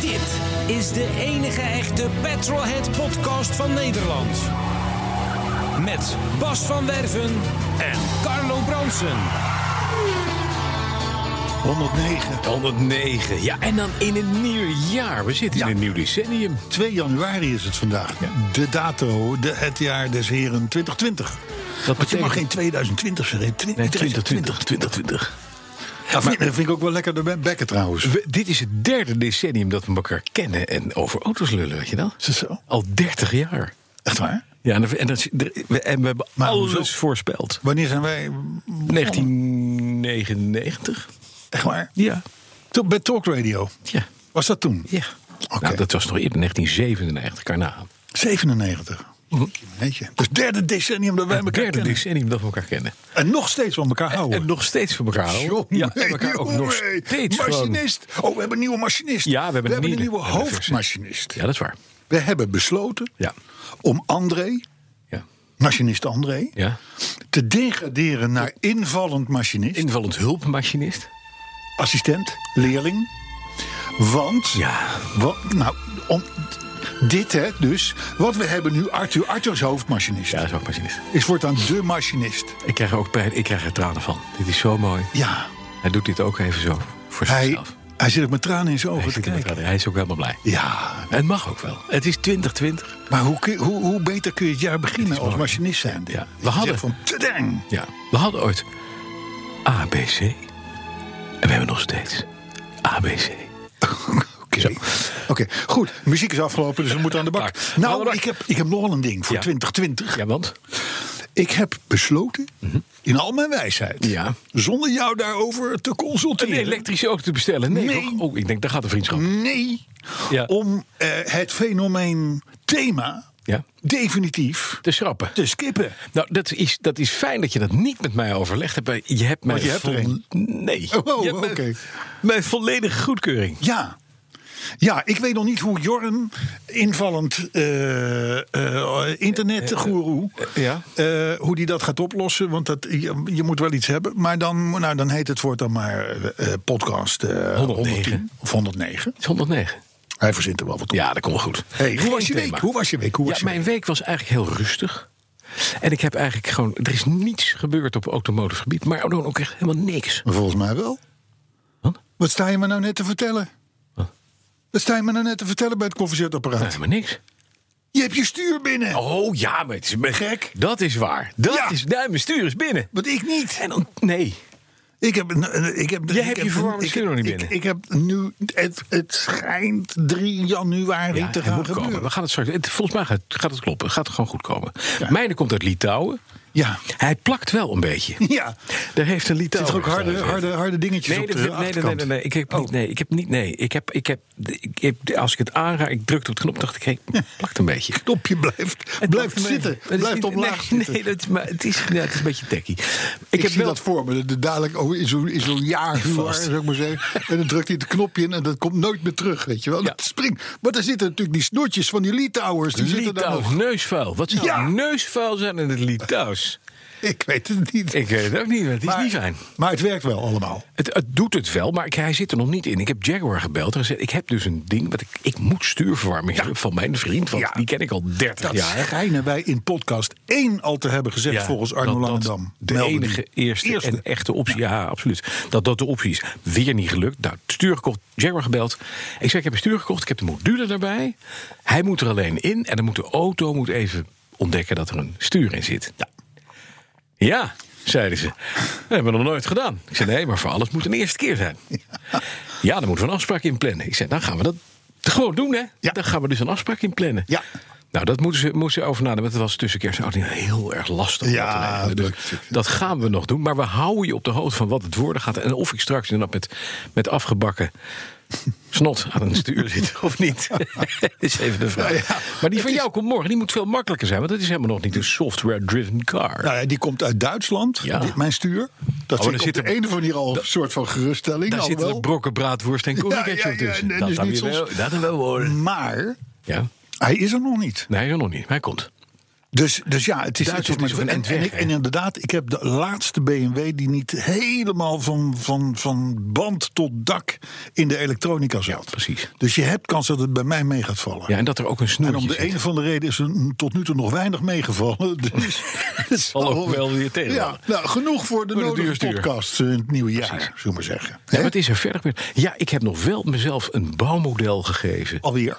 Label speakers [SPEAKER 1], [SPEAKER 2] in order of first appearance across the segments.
[SPEAKER 1] Dit is de enige echte Petrolhead podcast van Nederland. Met Bas van Werven en Carlo Bronsen.
[SPEAKER 2] 109.
[SPEAKER 3] 109. Ja, en dan in een nieuw jaar. We zitten in een nieuw decennium.
[SPEAKER 2] 2 januari is het vandaag. De dato, de, het jaar des heren 2020.
[SPEAKER 3] Dat
[SPEAKER 2] Want je mag
[SPEAKER 3] betekent-
[SPEAKER 2] geen 2020 zeggen. 20,
[SPEAKER 3] Nee, 2020. 2020.
[SPEAKER 2] Dat Nou, vind, dat vind ik ook wel lekker de bekken trouwens.
[SPEAKER 3] We- dit is het derde decennium dat we elkaar kennen en over auto's lullen, weet je wel?
[SPEAKER 2] Is het zo?
[SPEAKER 3] Al 30 jaar.
[SPEAKER 2] Echt waar?
[SPEAKER 3] Ja, en, dat- en, dat- we, en we hebben
[SPEAKER 2] Maar
[SPEAKER 3] alles
[SPEAKER 2] hoezo?
[SPEAKER 3] voorspeld.
[SPEAKER 2] Wanneer zijn wij...
[SPEAKER 3] Oh. 1999?
[SPEAKER 2] Echt waar?
[SPEAKER 3] Ja.
[SPEAKER 2] To- Bij Talk Radio.
[SPEAKER 3] Ja.
[SPEAKER 2] Was dat toen?
[SPEAKER 3] Ja.
[SPEAKER 2] Oké.
[SPEAKER 3] Nou, dat was nog eerder, 1997, Carna.
[SPEAKER 2] 97. Weet je. Dus derde decennium dat wij
[SPEAKER 3] Mhm. Het
[SPEAKER 2] elkaar
[SPEAKER 3] derde
[SPEAKER 2] kennen.
[SPEAKER 3] decennium dat we elkaar kennen.
[SPEAKER 2] En nog steeds van elkaar houden.
[SPEAKER 3] En nog steeds van elkaar houden. ja, en elkaar ook nog
[SPEAKER 2] jongen.
[SPEAKER 3] steeds gewoon-
[SPEAKER 2] Machinist. Oh, we hebben een nieuwe machinist.
[SPEAKER 3] Ja, we hebben een
[SPEAKER 2] een
[SPEAKER 3] nieuwe-
[SPEAKER 2] nieuwe
[SPEAKER 3] en een versie.
[SPEAKER 2] hoofdmachinist.
[SPEAKER 3] Ja, dat is waar.
[SPEAKER 2] We hebben besloten
[SPEAKER 3] Ja.
[SPEAKER 2] om André,
[SPEAKER 3] Ja.
[SPEAKER 2] machinist André,
[SPEAKER 3] ja.
[SPEAKER 2] te degraderen naar invallend machinist,
[SPEAKER 3] Invallend hulpmachinist.
[SPEAKER 2] assistent, leerling. Want,
[SPEAKER 3] Ja.
[SPEAKER 2] wa- nou, om, dit hè, dus, wat we hebben nu Arthur, Arthur is hoofdmachinist,
[SPEAKER 3] Ja, dat is ook machinist.
[SPEAKER 2] is voortaan de machinist.
[SPEAKER 3] Ik krijg er ook pijn. Ik krijg er tranen van. Dit is zo mooi.
[SPEAKER 2] Ja,
[SPEAKER 3] Hij doet dit ook even zo voor
[SPEAKER 2] hij,
[SPEAKER 3] zichzelf.
[SPEAKER 2] hij zit ook met tranen in zijn
[SPEAKER 3] Hij,
[SPEAKER 2] ogen te
[SPEAKER 3] zit er met
[SPEAKER 2] kijken.
[SPEAKER 3] tranen. hij is ook helemaal blij.
[SPEAKER 2] Ja,
[SPEAKER 3] En het mag ook wel. Het is 2020.
[SPEAKER 2] maar hoe, kun- hoe, hoe beter kun je het jaar beginnen als
[SPEAKER 3] mooi.
[SPEAKER 2] machinist zijn?
[SPEAKER 3] Ja, we hadden-
[SPEAKER 2] van, tadang.
[SPEAKER 3] Ja. We hadden ooit ABC. En we hebben nog steeds ABC.
[SPEAKER 2] Oké, Oké, goed. Muziek is afgelopen, dus we moeten aan de bak.
[SPEAKER 3] Bak. Aan de
[SPEAKER 2] Nou,
[SPEAKER 3] bak.
[SPEAKER 2] ik heb, ik heb nog wel een ding voor
[SPEAKER 3] Ja.
[SPEAKER 2] 2020.
[SPEAKER 3] Ja, want?
[SPEAKER 2] Ik heb besloten, in al mijn wijsheid,
[SPEAKER 3] Ja.
[SPEAKER 2] zonder jou daarover te
[SPEAKER 3] Een
[SPEAKER 2] consulteren.
[SPEAKER 3] elektrische auto te bestellen. Nee.
[SPEAKER 2] Nee.
[SPEAKER 3] toch? Oh, ik denk, daar gaat de vriendschap.
[SPEAKER 2] Nee,
[SPEAKER 3] Ja.
[SPEAKER 2] om eh, het fenomeen thema
[SPEAKER 3] Ja.
[SPEAKER 2] definitief
[SPEAKER 3] Te schrappen.
[SPEAKER 2] te skippen.
[SPEAKER 3] Nou, dat is, dat is fijn dat je dat niet met mij overlegd hebt. maar Je hebt mij
[SPEAKER 2] Want je hebt er een.
[SPEAKER 3] Nee.
[SPEAKER 2] Oh,
[SPEAKER 3] Je hebt mij-
[SPEAKER 2] oké.
[SPEAKER 3] Mijn volledige goedkeuring.
[SPEAKER 2] Ja. Ja, ik weet nog niet hoe Jorn, invallend eh eh internetgoeroe,
[SPEAKER 3] eh, ja.
[SPEAKER 2] eh, hoe die dat gaat oplossen. Want dat, je, je moet wel iets hebben. Maar dan, nou, dan heet het woord dan maar eh, eh, podcast eh
[SPEAKER 3] 109.
[SPEAKER 2] 110 of 109.
[SPEAKER 3] 109.
[SPEAKER 2] Hij verzint er wel wat op.
[SPEAKER 3] Ja, dat komt wel goed.
[SPEAKER 2] Hey, hoe,
[SPEAKER 3] Geen
[SPEAKER 2] was je
[SPEAKER 3] thema.
[SPEAKER 2] week? hoe was je week? Hoe was
[SPEAKER 3] ja,
[SPEAKER 2] je
[SPEAKER 3] mijn
[SPEAKER 2] week?
[SPEAKER 3] week was eigenlijk heel rustig. En ik heb eigenlijk gewoon... Er is niets gebeurd op automotive gebied. Maar dan ook echt helemaal niks.
[SPEAKER 2] Volgens mij wel.
[SPEAKER 3] Wat?
[SPEAKER 2] Wat sta je me nou net te vertellen?
[SPEAKER 3] Wat?
[SPEAKER 2] Wat sta je me nou net te vertellen bij het koffiezetapparaat?
[SPEAKER 3] Nou, helemaal niks.
[SPEAKER 2] Je hebt je stuur binnen.
[SPEAKER 3] Oh ja, maar het is maar
[SPEAKER 2] Gek.
[SPEAKER 3] Dat is waar. Dat
[SPEAKER 2] Ja.
[SPEAKER 3] is... Nou, mijn stuur is binnen.
[SPEAKER 2] Wat ik niet.
[SPEAKER 3] En dan... Nee.
[SPEAKER 2] Ik heb, een- een- ik heb,
[SPEAKER 3] Jij
[SPEAKER 2] ik
[SPEAKER 3] hebt je
[SPEAKER 2] heb-
[SPEAKER 3] verwarmde
[SPEAKER 2] ik-
[SPEAKER 3] stuur nog niet
[SPEAKER 2] ik-
[SPEAKER 3] binnen.
[SPEAKER 2] Ik, heb nu, het, het schijnt 3 januari
[SPEAKER 3] Ja,
[SPEAKER 2] te
[SPEAKER 3] het
[SPEAKER 2] gaan
[SPEAKER 3] moet komen.
[SPEAKER 2] gebeuren.
[SPEAKER 3] We gaan het straks... het- volgens mij gaat, gaat het kloppen. Het gaat gewoon goed komen. Mijne komt uit Litouwen.
[SPEAKER 2] Ja.
[SPEAKER 3] Hij plakt wel een beetje.
[SPEAKER 2] Ja,
[SPEAKER 3] Daar heeft een
[SPEAKER 2] er
[SPEAKER 3] Litouwer...
[SPEAKER 2] zitten ook harde,
[SPEAKER 3] gezeten.
[SPEAKER 2] harde, harde dingetjes
[SPEAKER 3] Nee,
[SPEAKER 2] op de
[SPEAKER 3] dat- nee, nee, nee,
[SPEAKER 2] achterkant.
[SPEAKER 3] nee, nee, ik heb niet, nee, ik heb niet, nee, ik heb, ik heb, ik heb, als ik het aanraak, ik drukte op de knop, dacht ik, hé, plakt een beetje. Het
[SPEAKER 2] Knopje blijft, blijft
[SPEAKER 3] plakt een
[SPEAKER 2] zitten,
[SPEAKER 3] beetje. Het is
[SPEAKER 2] blijft
[SPEAKER 3] niet-
[SPEAKER 2] omlaag
[SPEAKER 3] nee,
[SPEAKER 2] zitten.
[SPEAKER 3] Nee, dat, is- maar het is, ja, het is een beetje techie. Ik,
[SPEAKER 2] Ik,
[SPEAKER 3] heb
[SPEAKER 2] zie
[SPEAKER 3] wel,
[SPEAKER 2] dat voor me, de, dadelijk oh, in zo'n in zo'n jaar voor, zou ik maar zeggen. En dan drukt hij het knopje in en dat komt nooit meer terug, weet je wel.
[SPEAKER 3] Ja.
[SPEAKER 2] Dat springt. Maar daar zitten natuurlijk die snoertjes van die Litouwers. Die zitten daar
[SPEAKER 3] Litouws
[SPEAKER 2] nog.
[SPEAKER 3] neusvuil. Wat zou
[SPEAKER 2] Ja.
[SPEAKER 3] neusvuil zijn in het Litouws?
[SPEAKER 2] Ik weet het niet.
[SPEAKER 3] Ik weet het ook niet, want het is niet fijn.
[SPEAKER 2] Maar het werkt wel allemaal.
[SPEAKER 3] Het, het doet het wel, maar ik- hij zit er nog niet in. Ik heb Jaguar gebeld en gezegd, ik heb dus een ding... Wat ik, ik moet stuurverwarming hebben van mijn vriend, want
[SPEAKER 2] Ja.
[SPEAKER 3] die ken ik al 30
[SPEAKER 2] Dat
[SPEAKER 3] jaar.
[SPEAKER 2] schijnen wij in podcast 1 al te hebben gezegd,
[SPEAKER 3] Ja,
[SPEAKER 2] volgens Arno
[SPEAKER 3] dat dat
[SPEAKER 2] Langendam.
[SPEAKER 3] De
[SPEAKER 2] Melden
[SPEAKER 3] enige
[SPEAKER 2] die.
[SPEAKER 3] eerste, en echte optie. Ja. absoluut. Dat dat de optie is. Weer niet gelukt. Nou, het stuur gekocht. Jaguar gebeld. Ik zei, ik heb een stuur gekocht. Ik heb de module daarbij. Hij moet er alleen in. En dan moet de auto moet even ontdekken dat er een stuur in zit. Ja, zeiden ze. Dat hebben we nog nooit gedaan. Ik zei, nee, maar voor alles moet een eerste keer zijn. Ja, dan moeten we een afspraak in plannen. Ik zei, dan gaan we dat gewoon doen, hè.
[SPEAKER 2] Ja.
[SPEAKER 3] Dan gaan we dus een afspraak in plannen.
[SPEAKER 2] Ja.
[SPEAKER 3] Nou, dat moeten ze, moeten ze over nadenken. want Het was tussen kerst en oud en nieuw heel erg lastig. om
[SPEAKER 2] Ja,
[SPEAKER 3] dat te regelen.
[SPEAKER 2] dat-
[SPEAKER 3] dus dat gaan we nog doen. Maar we houden je op de hoogte van wat het worden gaat. En of ik straks inderdaad met, met afgebakken snot aan een stuur zit of niet. dat is even de vraag.
[SPEAKER 2] Nou ja,
[SPEAKER 3] maar die van jou komt morgen. Die moet veel makkelijker zijn. Want dat is helemaal nog niet een software-driven car.
[SPEAKER 2] Nou ja, die komt uit Duitsland,
[SPEAKER 3] Ja. Oh,
[SPEAKER 2] die- mijn stuur.
[SPEAKER 3] maar
[SPEAKER 2] Dat vind
[SPEAKER 3] er
[SPEAKER 2] ik
[SPEAKER 3] zit
[SPEAKER 2] op de
[SPEAKER 3] een-
[SPEAKER 2] ene of andere manier al een soort van geruststelling.
[SPEAKER 3] Daar zitten
[SPEAKER 2] alhoewel.
[SPEAKER 3] de brokken braadworst en koffie
[SPEAKER 2] Ja,
[SPEAKER 3] ketchup
[SPEAKER 2] ja, ja,
[SPEAKER 3] tussen.
[SPEAKER 2] en
[SPEAKER 3] dat,
[SPEAKER 2] dus
[SPEAKER 3] dan
[SPEAKER 2] niet
[SPEAKER 3] weer wel,
[SPEAKER 2] soms-
[SPEAKER 3] dat dan wel hoor.
[SPEAKER 2] Maar
[SPEAKER 3] Ja.
[SPEAKER 2] hij is er nog niet.
[SPEAKER 3] Nee, nog niet. Hij komt.
[SPEAKER 2] Dus, dus ja, het is
[SPEAKER 3] Duitsland
[SPEAKER 2] het
[SPEAKER 3] is op een
[SPEAKER 2] en,
[SPEAKER 3] eind
[SPEAKER 2] en,
[SPEAKER 3] weg,
[SPEAKER 2] ik-
[SPEAKER 3] hè?
[SPEAKER 2] en inderdaad, ik heb de laatste BMW die niet helemaal van, van, van band tot dak in de elektronica zat.
[SPEAKER 3] precies.
[SPEAKER 2] Dus je hebt kans dat het bij mij mee gaat vallen.
[SPEAKER 3] Ja, en dat er ook een
[SPEAKER 2] En
[SPEAKER 3] snoertje
[SPEAKER 2] om de
[SPEAKER 3] zit.
[SPEAKER 2] een of andere reden is er n- tot nu toe nog weinig meegevallen. Dus dat
[SPEAKER 3] zal ook wel weer tegenvallen.
[SPEAKER 2] Ja, nou, genoeg voor de
[SPEAKER 3] Voor de
[SPEAKER 2] nodige
[SPEAKER 3] duurstuur.
[SPEAKER 2] podcasts in het nieuwe jaar, zullen we maar zeggen.
[SPEAKER 3] Ja,
[SPEAKER 2] Hè?
[SPEAKER 3] wat is er verder gebeurd? Ja, ik heb nog wel mezelf een bouwmodel gegeven.
[SPEAKER 2] Alweer.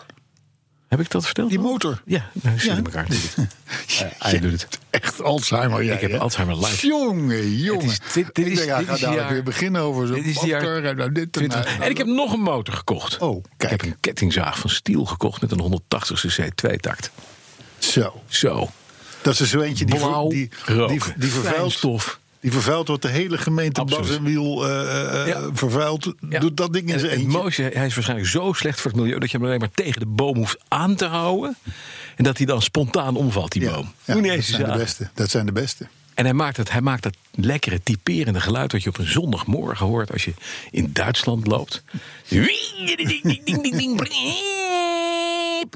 [SPEAKER 3] Heb ik dat verteld?
[SPEAKER 2] Die
[SPEAKER 3] al?
[SPEAKER 2] motor.
[SPEAKER 3] Ja, nou,
[SPEAKER 2] Ja.
[SPEAKER 3] zit in elkaar. Doe het. Ja, hij doet het.
[SPEAKER 2] Echt Alzheimer, jij.
[SPEAKER 3] Ik heb
[SPEAKER 2] hè?
[SPEAKER 3] Alzheimer live.
[SPEAKER 2] Jongen, jongen.
[SPEAKER 3] is- dit- dit
[SPEAKER 2] Ik
[SPEAKER 3] is-
[SPEAKER 2] denk, ja,
[SPEAKER 3] dit
[SPEAKER 2] ga
[SPEAKER 3] is
[SPEAKER 2] dadelijk
[SPEAKER 3] jaar-
[SPEAKER 2] weer beginnen over zo'n
[SPEAKER 3] Dit is de
[SPEAKER 2] motor en nou
[SPEAKER 3] jaar
[SPEAKER 2] dit en
[SPEAKER 3] 20.
[SPEAKER 2] nou-
[SPEAKER 3] En ik heb nog een motor gekocht.
[SPEAKER 2] Oh, kijk.
[SPEAKER 3] Ik heb een kettingzaag van Stiel gekocht met een 180cc tweetakt.
[SPEAKER 2] Zo,
[SPEAKER 3] Zo.
[SPEAKER 2] dat is er zo eentje die, ver-
[SPEAKER 3] Blauw
[SPEAKER 2] die, die,
[SPEAKER 3] rook.
[SPEAKER 2] die, vervuilt...
[SPEAKER 3] Fijnstof.
[SPEAKER 2] Die vervuilt wat de hele gemeente Bas
[SPEAKER 3] Absoluut.
[SPEAKER 2] en Wiel eh, eh,
[SPEAKER 3] Ja.
[SPEAKER 2] vervuilt.
[SPEAKER 3] Ja.
[SPEAKER 2] Doet dat ding in
[SPEAKER 3] En
[SPEAKER 2] zijn
[SPEAKER 3] Het
[SPEAKER 2] eentje.
[SPEAKER 3] mooiste, hij is waarschijnlijk zo slecht voor het milieu... dat je hem alleen maar tegen de boom hoeft aan te houden... en dat hij dan spontaan omvalt, die boom. Moet niet
[SPEAKER 2] dat
[SPEAKER 3] eens
[SPEAKER 2] zijn de
[SPEAKER 3] zagen.
[SPEAKER 2] beste. Dat zijn de beste.
[SPEAKER 3] En hij maakt, het, hij maakt dat lekkere typerende geluid dat je op een zondagmorgen hoort als je in Duitsland loopt.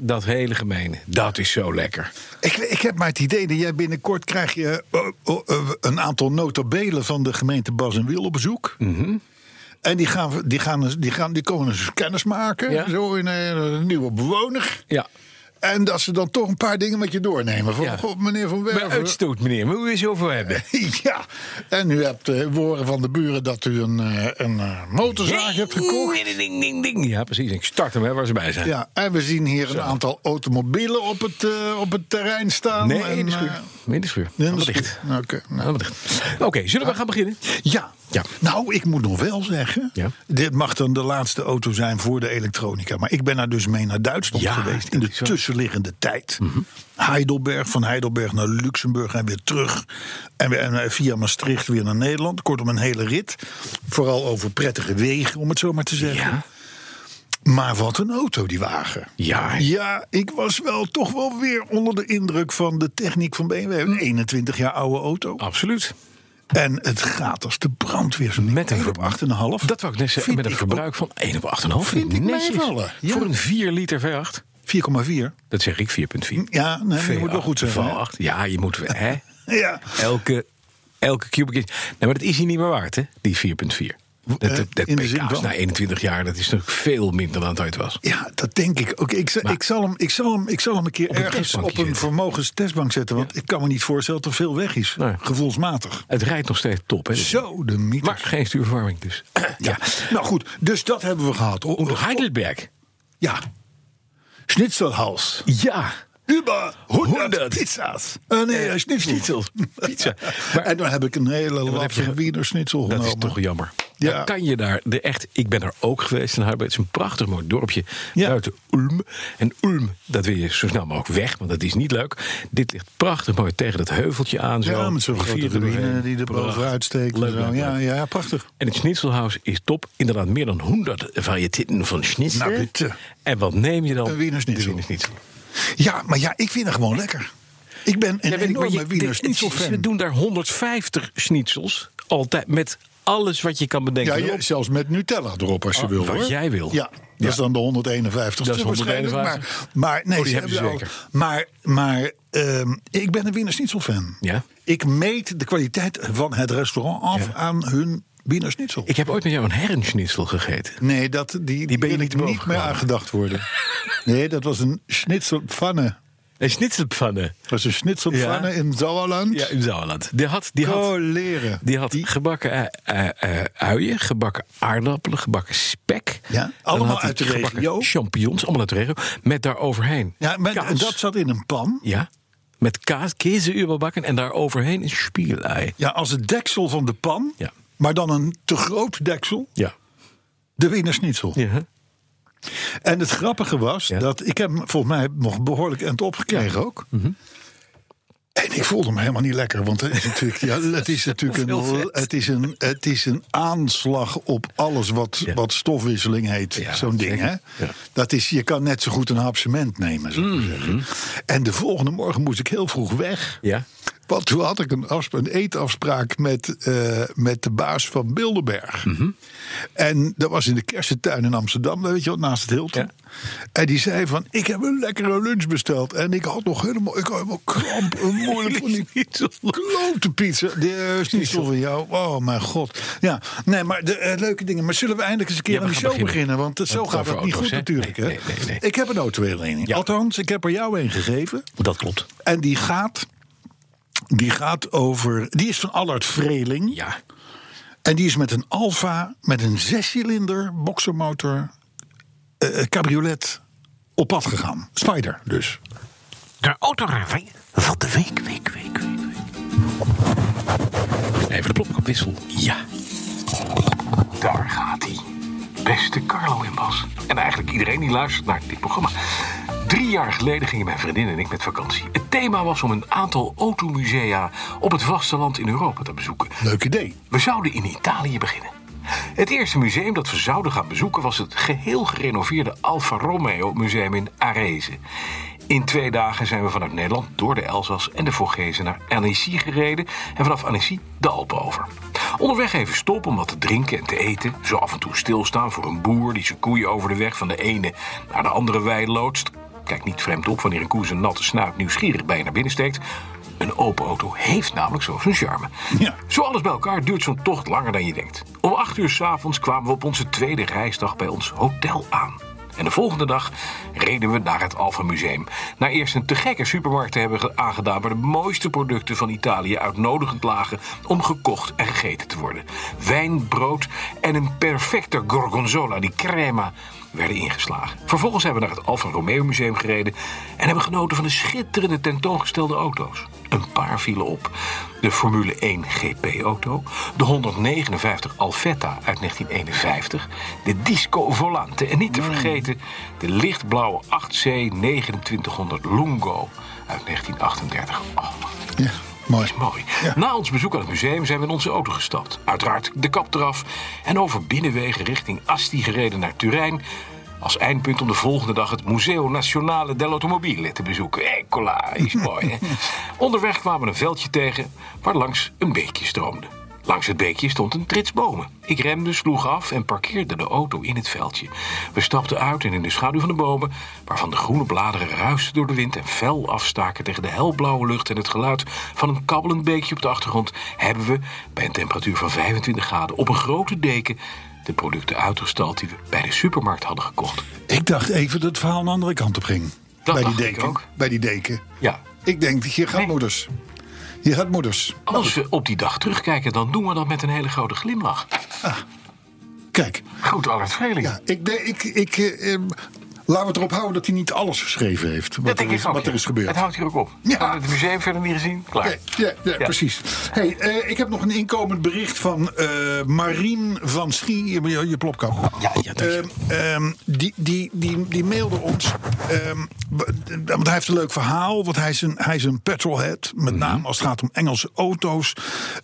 [SPEAKER 3] Dat hele gemene, dat is zo lekker.
[SPEAKER 2] Ik, ik heb maar het idee dat jij binnenkort krijg je eh, oh, eh, een aantal notabelen van de gemeente Bas en Wiel op bezoek.
[SPEAKER 3] Mhm.
[SPEAKER 2] En die, gaan, die, gaan, die, gaan, die komen eens kennis maken,
[SPEAKER 3] Ja.
[SPEAKER 2] zo in eh, een nieuwe bewoner.
[SPEAKER 3] Ja.
[SPEAKER 2] En dat ze dan toch een paar dingen met je doornemen. Van,
[SPEAKER 3] Ja.
[SPEAKER 2] "Goh, meneer Van
[SPEAKER 3] Maar
[SPEAKER 2] Werven.
[SPEAKER 3] uitstoot, meneer, maar hoe is zoveel hebben?
[SPEAKER 2] ja, en u hebt eh, we horen van de buren dat u een, eh, een eh, motorzaag hebt gekocht.
[SPEAKER 3] Ja, precies. Ik start hem hè, waar ze bij zijn.
[SPEAKER 2] Ja, en we zien hier een aantal automobielen op het, eh, op het terrein staan.
[SPEAKER 3] Nee,
[SPEAKER 2] en,
[SPEAKER 3] in de
[SPEAKER 2] eh,
[SPEAKER 3] schuur. In de schuur.
[SPEAKER 2] in de
[SPEAKER 3] Allemaal
[SPEAKER 2] schuur.
[SPEAKER 3] dicht.
[SPEAKER 2] Oké, nou.
[SPEAKER 3] Allemaal dicht. Oké, zullen we gaan beginnen?
[SPEAKER 2] Ja.
[SPEAKER 3] Ja.
[SPEAKER 2] Nou, ik moet nog wel zeggen.
[SPEAKER 3] Ja.
[SPEAKER 2] Dit mag dan de laatste auto zijn voor de elektronica. Maar ik ben daar dus mee naar Duitsland
[SPEAKER 3] Ja,
[SPEAKER 2] geweest. In
[SPEAKER 3] dat
[SPEAKER 2] de
[SPEAKER 3] is Mhm. waar.
[SPEAKER 2] tussenliggende tijd. Heidelberg, van Heidelberg naar Luxemburg en weer terug. En, weer, en eh, via Maastricht weer naar Nederland. Kortom, een hele rit. Vooral over prettige wegen, om het zo maar te zeggen.
[SPEAKER 3] Ja.
[SPEAKER 2] Maar wat een auto, die wagen.
[SPEAKER 3] Ja.
[SPEAKER 2] Ja, ik was wel toch wel weer onder de indruk van de techniek van BMW.
[SPEAKER 3] Hm.
[SPEAKER 2] Een 21 jaar oude auto.
[SPEAKER 3] Absoluut.
[SPEAKER 2] En het gaat als de brandweer zo
[SPEAKER 3] Met een
[SPEAKER 2] op 8,5.
[SPEAKER 3] Dat wou ik net zeggen.
[SPEAKER 2] Vind
[SPEAKER 3] Met een
[SPEAKER 2] ik oh,
[SPEAKER 3] verbruik van 1 op 8,5.
[SPEAKER 2] Vind ik
[SPEAKER 3] Netjes.
[SPEAKER 2] meevallen. Ja.
[SPEAKER 3] Voor een 4 liter V8.
[SPEAKER 2] ook 4,4.
[SPEAKER 3] Dat zeg ik 4,4.
[SPEAKER 2] Ja, nee, dat moet wel
[SPEAKER 3] V8,
[SPEAKER 2] goed zijn. hè?
[SPEAKER 3] V8. Ja, je moet. Hè?
[SPEAKER 2] Ja.
[SPEAKER 3] Elke, elke cubic inch. Nou, maar dat is hier niet meer waard, hè? Die 4,4. Dat,
[SPEAKER 2] Eh,
[SPEAKER 3] dat, dat
[SPEAKER 2] in de zin
[SPEAKER 3] pk's
[SPEAKER 2] van?
[SPEAKER 3] na 21 jaar, dat is natuurlijk veel minder dan het ooit was.
[SPEAKER 2] ja, dat denk ik. Oké, ik, zal-
[SPEAKER 3] Maar-
[SPEAKER 2] ik, zal hem, ik, zal hem, ik zal hem een keer
[SPEAKER 3] Op een
[SPEAKER 2] ergens
[SPEAKER 3] testbankje
[SPEAKER 2] op een
[SPEAKER 3] zetten.
[SPEAKER 2] vermogenstestbank zetten. Want ik kan me niet voorstellen dat er veel weg is.
[SPEAKER 3] Nee.
[SPEAKER 2] Gevoelsmatig.
[SPEAKER 3] Het rijdt nog steeds top, hè?
[SPEAKER 2] Zo, de mythe.
[SPEAKER 3] Maar geen stuurverwarming dus.
[SPEAKER 2] ja. Nou goed, dus dat hebben we gehad. O-
[SPEAKER 3] Onder Heidelberg.
[SPEAKER 2] ja. Schnitzelhaus.
[SPEAKER 3] Ja.
[SPEAKER 2] Über 100
[SPEAKER 3] 100.
[SPEAKER 2] pizza's. Eh, nee, eh, schnitzel.
[SPEAKER 3] Schnitzel. Pizza. Maar-
[SPEAKER 2] en dan heb ik een hele
[SPEAKER 3] wat heb je
[SPEAKER 2] lapje
[SPEAKER 3] ge-
[SPEAKER 2] wiener schnitzel
[SPEAKER 3] Dat
[SPEAKER 2] genomen.
[SPEAKER 3] is toch jammer.
[SPEAKER 2] Ja.
[SPEAKER 3] Dan kan je daar de echt. Ik ben er ook geweest in Harbeid. Het is een prachtig mooi dorpje
[SPEAKER 2] Ja.
[SPEAKER 3] buiten Ulm. En Ulm, dat wil je zo snel mogelijk weg, want dat is niet leuk. Dit ligt prachtig mooi tegen dat heuveltje aan. Zo.
[SPEAKER 2] Ja, met zo'n grote
[SPEAKER 3] Rivier eroverheen.
[SPEAKER 2] ruïne die er
[SPEAKER 3] Prachtig.
[SPEAKER 2] bovenuit steekt. en
[SPEAKER 3] Leuk,
[SPEAKER 2] zo.
[SPEAKER 3] leuk,
[SPEAKER 2] ja,
[SPEAKER 3] leuk.
[SPEAKER 2] ja, prachtig.
[SPEAKER 3] En het Schnitzelhaus is top. Inderdaad, meer dan 100 variëteiten van schnitzel.
[SPEAKER 2] Nou, bitte.
[SPEAKER 3] en wat neem je dan?
[SPEAKER 2] Een Wiener schnitzel.
[SPEAKER 3] De Wiener schnitzel.
[SPEAKER 2] Ja, maar ja, ik vind het gewoon lekker. Ik ben een
[SPEAKER 3] Ja, weet ik, maar
[SPEAKER 2] enorme
[SPEAKER 3] je-
[SPEAKER 2] Wiener
[SPEAKER 3] dit- Ze
[SPEAKER 2] schnitzelfan.
[SPEAKER 3] doen daar 150 schnitzels. Altijd met alles wat je kan
[SPEAKER 2] Ja,
[SPEAKER 3] bedenken.
[SPEAKER 2] je-
[SPEAKER 3] erop. Oh,
[SPEAKER 2] zelfs met Nutella erop als je wil.
[SPEAKER 3] wat
[SPEAKER 2] hoor.
[SPEAKER 3] jij wil.
[SPEAKER 2] Ja, dat
[SPEAKER 3] Ja.
[SPEAKER 2] is dan de 151.
[SPEAKER 3] Dat is
[SPEAKER 2] waarschijnlijk,
[SPEAKER 3] 151.
[SPEAKER 2] Maar, maar nee,
[SPEAKER 3] Oh, die
[SPEAKER 2] ze
[SPEAKER 3] hebben ze
[SPEAKER 2] al- Maar, maar ehm, ik ben een Wiener schnitzelfan.
[SPEAKER 3] Ja.
[SPEAKER 2] Ik meet de kwaliteit van het restaurant af
[SPEAKER 3] Ja.
[SPEAKER 2] aan hun Wiener schnitzel.
[SPEAKER 3] Ik heb ooit met jou een herrenschnitzel gegeten.
[SPEAKER 2] Nee, dat, die, die,
[SPEAKER 3] ben je
[SPEAKER 2] wil
[SPEAKER 3] niet
[SPEAKER 2] ik
[SPEAKER 3] boven
[SPEAKER 2] niet meer
[SPEAKER 3] gekomen.
[SPEAKER 2] aan gedacht worden. nee, dat was een schnitzelpfanne.
[SPEAKER 3] Een schnitzelpfanne.
[SPEAKER 2] Dat was een schnitzelpfanne
[SPEAKER 3] Ja.
[SPEAKER 2] in Sauerland.
[SPEAKER 3] Ja, in Zouwerland. Die had, die had,
[SPEAKER 2] Coleren.
[SPEAKER 3] die had gebakken eh, eh, eh, uien, gebakken aardappelen, gebakken spek.
[SPEAKER 2] Ja,
[SPEAKER 3] Dan
[SPEAKER 2] allemaal
[SPEAKER 3] had hij
[SPEAKER 2] uit de
[SPEAKER 3] gebakken
[SPEAKER 2] regio.
[SPEAKER 3] Champignons, allemaal uit de regio. Met daaroverheen
[SPEAKER 2] Ja, maar
[SPEAKER 3] kaas.
[SPEAKER 2] dat zat in een pan.
[SPEAKER 3] Ja, met kaas, kezenuurbakken en daaroverheen een spiegelei.
[SPEAKER 2] Ja, als het deksel van de pan.
[SPEAKER 3] Ja.
[SPEAKER 2] Maar dan een te groot deksel.
[SPEAKER 3] Ja.
[SPEAKER 2] De Wiener Schnitzel.
[SPEAKER 3] ja.
[SPEAKER 2] En het grappige was
[SPEAKER 3] Ja.
[SPEAKER 2] dat ik heb hem volgens mij nog behoorlijk end opgekregen ook.
[SPEAKER 3] Mhm.
[SPEAKER 2] En ik voelde me helemaal niet lekker, want het is natuurlijk, ja, het is natuurlijk
[SPEAKER 3] Heel
[SPEAKER 2] een,
[SPEAKER 3] vet.
[SPEAKER 2] het is een, het is een aanslag op alles wat,
[SPEAKER 3] Ja.
[SPEAKER 2] wat stofwisseling heet.
[SPEAKER 3] Ja,
[SPEAKER 2] Zo'n ding, hè?
[SPEAKER 3] zeker. Ja.
[SPEAKER 2] Dat is, je kan net zo goed een hap cement nemen, zou ik maar
[SPEAKER 3] Mhm.
[SPEAKER 2] zeggen. En de volgende morgen moest ik heel vroeg weg.
[SPEAKER 3] Ja.
[SPEAKER 2] Want toen had ik een, afsp- een eetafspraak met, eh, met de baas van Bilderberg.
[SPEAKER 3] Mhm.
[SPEAKER 2] En dat was in de kersentuin in Amsterdam, weet je wel, naast het Hilton.
[SPEAKER 3] Ja.
[SPEAKER 2] En die zei van, ik heb een lekkere lunch besteld. En ik had nog helemaal, ik had helemaal kramp en moeilijk van die klote pizza. Die is niet zo van jou. Oh mijn god. Ja, nee, maar de eh, leuke dingen. Maar zullen we eindelijk eens een keer
[SPEAKER 3] Ja, we
[SPEAKER 2] aan die
[SPEAKER 3] gaan
[SPEAKER 2] show beginnen?
[SPEAKER 3] beginnen,
[SPEAKER 2] want eh, zo
[SPEAKER 3] Want
[SPEAKER 2] gaat
[SPEAKER 3] over
[SPEAKER 2] het niet
[SPEAKER 3] auto's,
[SPEAKER 2] goed
[SPEAKER 3] hè?
[SPEAKER 2] natuurlijk. hè?
[SPEAKER 3] Nee, nee, nee, nee.
[SPEAKER 2] Ik heb een autoherinnering.
[SPEAKER 3] Ja.
[SPEAKER 2] Althans, ik heb er jou een gegeven.
[SPEAKER 3] Dat klopt.
[SPEAKER 2] En die gaat, die gaat over. Die is van Allard Vreling.
[SPEAKER 3] Ja.
[SPEAKER 2] En die is met een Alfa, met een zescilinder boxermotor, eh, cabriolet op pad gegaan. Spider dus.
[SPEAKER 3] De autorij van de week, week, week, week, week. Even de plopkapwissel. Ja. Daar gaat hij. Beste Carlo en Bas. En eigenlijk iedereen die luistert naar dit programma. Drie jaar geleden gingen mijn vriendin en ik met vakantie. Het thema was om een aantal automusea op het vasteland in Europa te bezoeken.
[SPEAKER 2] Leuk idee.
[SPEAKER 3] We zouden in Italië beginnen. Het eerste museum dat we zouden gaan bezoeken was het geheel gerenoveerde Alfa Romeo Museum in Arese. In twee dagen zijn we vanuit Nederland door de Elzas en de Vorgezen naar Annecy gereden en vanaf Annecy de Alpen over. Onderweg even stoppen om wat te drinken en te eten, zo af en toe stilstaan voor een boer die zijn koeien over de weg van de ene naar de andere wei loodst. Kijk niet vreemd op wanneer een koe zijn natte snuit nieuwsgierig bij je naar binnen steekt. Een open auto heeft namelijk zo zijn charme.
[SPEAKER 2] Ja.
[SPEAKER 3] Zo alles bij elkaar duurt zo'n tocht langer dan je denkt. Om 8 uur s'avonds kwamen we op onze tweede reisdag bij ons hotel aan. En de volgende dag reden we naar het Alfa Museum. Na eerst een te gekke supermarkt te hebben ge- aangedaan... waar de mooiste producten van Italië uitnodigend lagen... om gekocht en gegeten te worden. Wijn, brood en een perfecte gorgonzola, die crema, werden ingeslagen. Vervolgens hebben we naar het Alfa Romeo Museum gereden... en hebben genoten van de schitterende tentoongestelde auto's. Een paar vielen op. De Formule 1 GP-auto, de 159 Alfetta uit 1951, de Disco Volante en niet te vergeten de lichtblauwe 8C 2900 Lungo uit 1938. Oh,
[SPEAKER 2] Ja, mooi.
[SPEAKER 3] dat is mooi. Na ons bezoek aan het museum zijn we in onze auto gestapt. Uiteraard de kap eraf en over binnenwegen richting Asti gereden naar Turijn. Als eindpunt om de volgende dag het Museo Nazionale dell'Automobile te bezoeken. Eccola, is mooi hè. Onderweg kwamen we een veldje tegen waar langs een beekje stroomde. Langs het beekje stond een trits bomen. Ik remde, sloeg af en parkeerde de auto in het veldje. We stapten uit en in de schaduw van de bomen, waarvan de groene bladeren ruisten door de wind en fel afstaken tegen de helblauwe lucht en het geluid van een kabbelend beekje op de achtergrond, hebben we, bij een temperatuur van 25 graden, op een grote deken de producten uitgestald die we bij de supermarkt hadden gekocht.
[SPEAKER 2] Ik dacht even dat het verhaal de andere kant op ging. bij
[SPEAKER 3] Dat
[SPEAKER 2] die
[SPEAKER 3] dacht ik
[SPEAKER 2] deken.
[SPEAKER 3] ook.
[SPEAKER 2] Bij die deken.
[SPEAKER 3] Ja,
[SPEAKER 2] Ik denk, je gaat
[SPEAKER 3] Nee.
[SPEAKER 2] moeders. Je gaat moeders.
[SPEAKER 3] als we op die dag terugkijken, dan doen we dat met een hele grote glimlach.
[SPEAKER 2] Ah. Kijk,
[SPEAKER 3] Goed, Allard Vreling.
[SPEAKER 2] ja, ik, denk- ik, ik, eh, eh, laten we het erop houden dat hij niet alles geschreven heeft. Wat,
[SPEAKER 3] Dat
[SPEAKER 2] er,
[SPEAKER 3] denk ik
[SPEAKER 2] is,
[SPEAKER 3] ook,
[SPEAKER 2] wat er
[SPEAKER 3] ja.
[SPEAKER 2] is gebeurd.
[SPEAKER 3] Het houdt hier ook op.
[SPEAKER 2] Ja.
[SPEAKER 3] We hadden het museum verder niet gezien. Klaar.
[SPEAKER 2] Nee, ja, ja, precies. Hey, eh, ik heb nog een inkomend bericht van eh Marien van Schie, je, je, je plopkap.
[SPEAKER 3] Ja, ja, dank je.
[SPEAKER 2] Ehm, ehm, die, die, die, die mailde ons. ehm, b- d- want hij heeft een leuk verhaal. Want hij is een, hij is een petrolhead. Met
[SPEAKER 3] Mhm.
[SPEAKER 2] name als het gaat om Engelse auto's.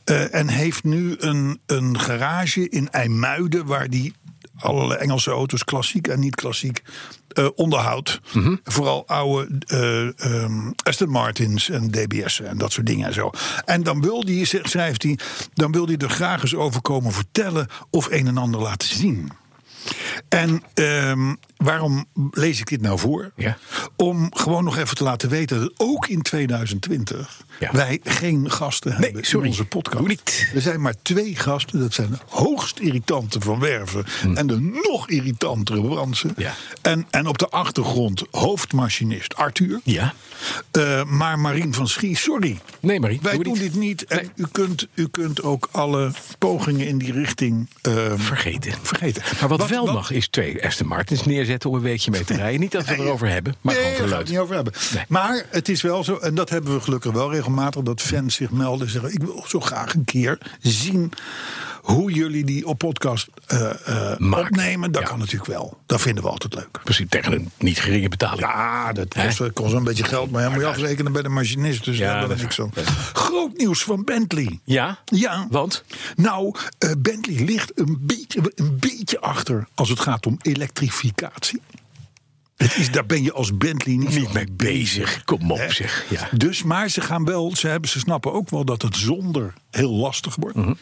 [SPEAKER 2] eh, en heeft nu een, een garage in IJmuiden. Waar die allerlei Engelse auto's, klassiek en niet klassiek, eh, onderhoudt. Vooral oude eh, ehm, Aston Martins en DBS'en en dat soort dingen en zo. En dan wil die, zegt- schrijft hij, dan wil die er graag eens over komen vertellen of een en ander laten zien. En ehm, waarom lees ik dit nou voor?
[SPEAKER 3] Ja.
[SPEAKER 2] Om gewoon nog even te laten weten dat ook in 2020
[SPEAKER 3] Ja.
[SPEAKER 2] wij geen gasten hebben
[SPEAKER 3] sorry.
[SPEAKER 2] in onze podcast.
[SPEAKER 3] Doe niet.
[SPEAKER 2] Er zijn maar twee gasten. Dat zijn de hoogst irritante Van Werven en de nog irritantere Bransen.
[SPEAKER 3] Hm. Ja.
[SPEAKER 2] En, en op de achtergrond hoofdmachinist Arthur.
[SPEAKER 3] Ja.
[SPEAKER 2] Eh, maar Marien van Schie, sorry.
[SPEAKER 3] Nee, Marie,
[SPEAKER 2] Wij
[SPEAKER 3] doe
[SPEAKER 2] doen
[SPEAKER 3] niet.
[SPEAKER 2] dit niet. En
[SPEAKER 3] Nee.
[SPEAKER 2] u, kunt, u kunt ook alle pogingen in die richting eh,
[SPEAKER 3] Vergeten.
[SPEAKER 2] vergeten.
[SPEAKER 3] Maar wat, wel mag, is twee Aston Martins neerzetten om een weekje mee te rijden. Niet dat we het erover hebben, maar
[SPEAKER 2] nee,
[SPEAKER 3] gewoon
[SPEAKER 2] daar
[SPEAKER 3] voor
[SPEAKER 2] gaan we het
[SPEAKER 3] leuk.
[SPEAKER 2] niet over hebben.
[SPEAKER 3] Nee.
[SPEAKER 2] Maar het is wel zo, en dat hebben we gelukkig wel regelmatig, dat fans zich melden en zeggen: Ik wil zo graag een keer zien Hoe jullie die op podcast eh, eh,
[SPEAKER 3] Maken.
[SPEAKER 2] opnemen, dat
[SPEAKER 3] Ja.
[SPEAKER 2] kan natuurlijk wel. Dat vinden we altijd leuk.
[SPEAKER 3] Precies, tegen een niet geringe betaling.
[SPEAKER 2] Ja, dat
[SPEAKER 3] Hè?
[SPEAKER 2] kost, eh, kost een beetje geld, maar hij moet je afrekenen bij de machinist. Dus
[SPEAKER 3] Ja,
[SPEAKER 2] daar ben
[SPEAKER 3] dat
[SPEAKER 2] ik
[SPEAKER 3] is
[SPEAKER 2] niks van.
[SPEAKER 3] waar.
[SPEAKER 2] Groot nieuws van Bentley.
[SPEAKER 3] Ja?
[SPEAKER 2] Ja.
[SPEAKER 3] Want?
[SPEAKER 2] Nou, eh, Bentley ligt een beetje, een beetje achter als het gaat om elektrificatie. Het is, daar ben je als Bentley niet,
[SPEAKER 3] Niet mee bezig. Kom op
[SPEAKER 2] Hè?
[SPEAKER 3] zeg. Ja.
[SPEAKER 2] Dus, maar ze gaan wel, ze, hebben, ze snappen ook wel dat het zonder heel lastig wordt.
[SPEAKER 3] Mhm.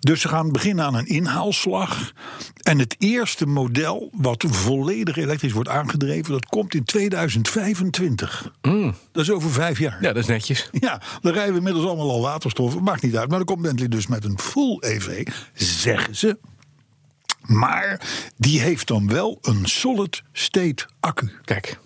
[SPEAKER 2] Dus ze gaan beginnen aan een inhaalslag. En het eerste model wat volledig elektrisch wordt aangedreven, dat komt in 2025.
[SPEAKER 3] Mm.
[SPEAKER 2] Dat is over vijf jaar.
[SPEAKER 3] ja, dat is netjes.
[SPEAKER 2] Ja, dan rijden we inmiddels allemaal al waterstof. Maakt niet uit. Maar dan komt Bentley dus met een full EV, zeggen ze. Maar die heeft dan wel een solid state accu.
[SPEAKER 3] Kijk,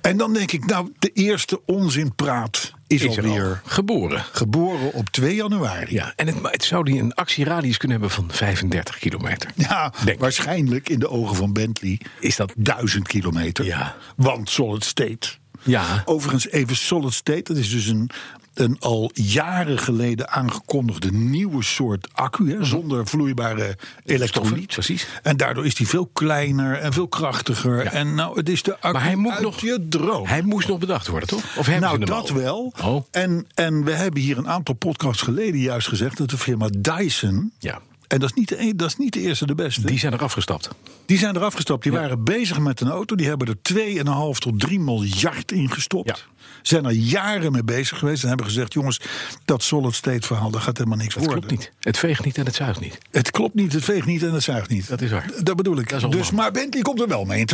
[SPEAKER 2] En dan denk ik, nou, de eerste onzinpraat is,
[SPEAKER 3] is er
[SPEAKER 2] alweer
[SPEAKER 3] al geboren.
[SPEAKER 2] geboren op 2 januari.
[SPEAKER 3] Ja, en het, maar het zou die een actieradius kunnen hebben van 35 kilometer.
[SPEAKER 2] Ja,
[SPEAKER 3] Denk ik.
[SPEAKER 2] waarschijnlijk in de ogen van Bentley
[SPEAKER 3] Is dat-
[SPEAKER 2] duizend kilometer.
[SPEAKER 3] Ja.
[SPEAKER 2] Want solid state.
[SPEAKER 3] Ja.
[SPEAKER 2] Overigens, even solid state, dat is dus een, een al jaren geleden aangekondigde nieuwe soort accu. Hè, zonder vloeibare elektroliet.
[SPEAKER 3] Mhm. precies.
[SPEAKER 2] En daardoor is die veel kleiner en veel krachtiger.
[SPEAKER 3] Ja.
[SPEAKER 2] En nou, het is de accu
[SPEAKER 3] Maar hij moet
[SPEAKER 2] uit
[SPEAKER 3] nog-
[SPEAKER 2] je droom.
[SPEAKER 3] Hij moest nog bedacht worden, toch? Of hebben
[SPEAKER 2] nou,
[SPEAKER 3] ze hem
[SPEAKER 2] dat
[SPEAKER 3] al?
[SPEAKER 2] wel.
[SPEAKER 3] Oh,
[SPEAKER 2] En, en we hebben hier een aantal podcasts geleden juist gezegd... dat de firma Dyson...
[SPEAKER 3] ja.
[SPEAKER 2] En dat is, niet de, e- dat is niet de eerste, de beste.
[SPEAKER 3] Die
[SPEAKER 2] Die,
[SPEAKER 3] zijn er afgestapt.
[SPEAKER 2] zijn eraf gestapt. Die waren bezig met een auto. Die hebben er 2,5 tot 3 miljard in gestopt.
[SPEAKER 3] Ja.
[SPEAKER 2] Zijn er jaren mee bezig geweest. En hebben gezegd: jongens, dat solid state verhaal, daar gaat helemaal niks
[SPEAKER 3] Dat
[SPEAKER 2] worden.
[SPEAKER 3] klopt niet. Het veegt niet en het zuigt niet.
[SPEAKER 2] Het klopt niet, het veegt niet en het zuigt niet.
[SPEAKER 3] Dat is waar.
[SPEAKER 2] D- Dat bedoel ik.
[SPEAKER 3] Dat is
[SPEAKER 2] dus,
[SPEAKER 3] onmogelijk.
[SPEAKER 2] maar Bentley komt er wel mee in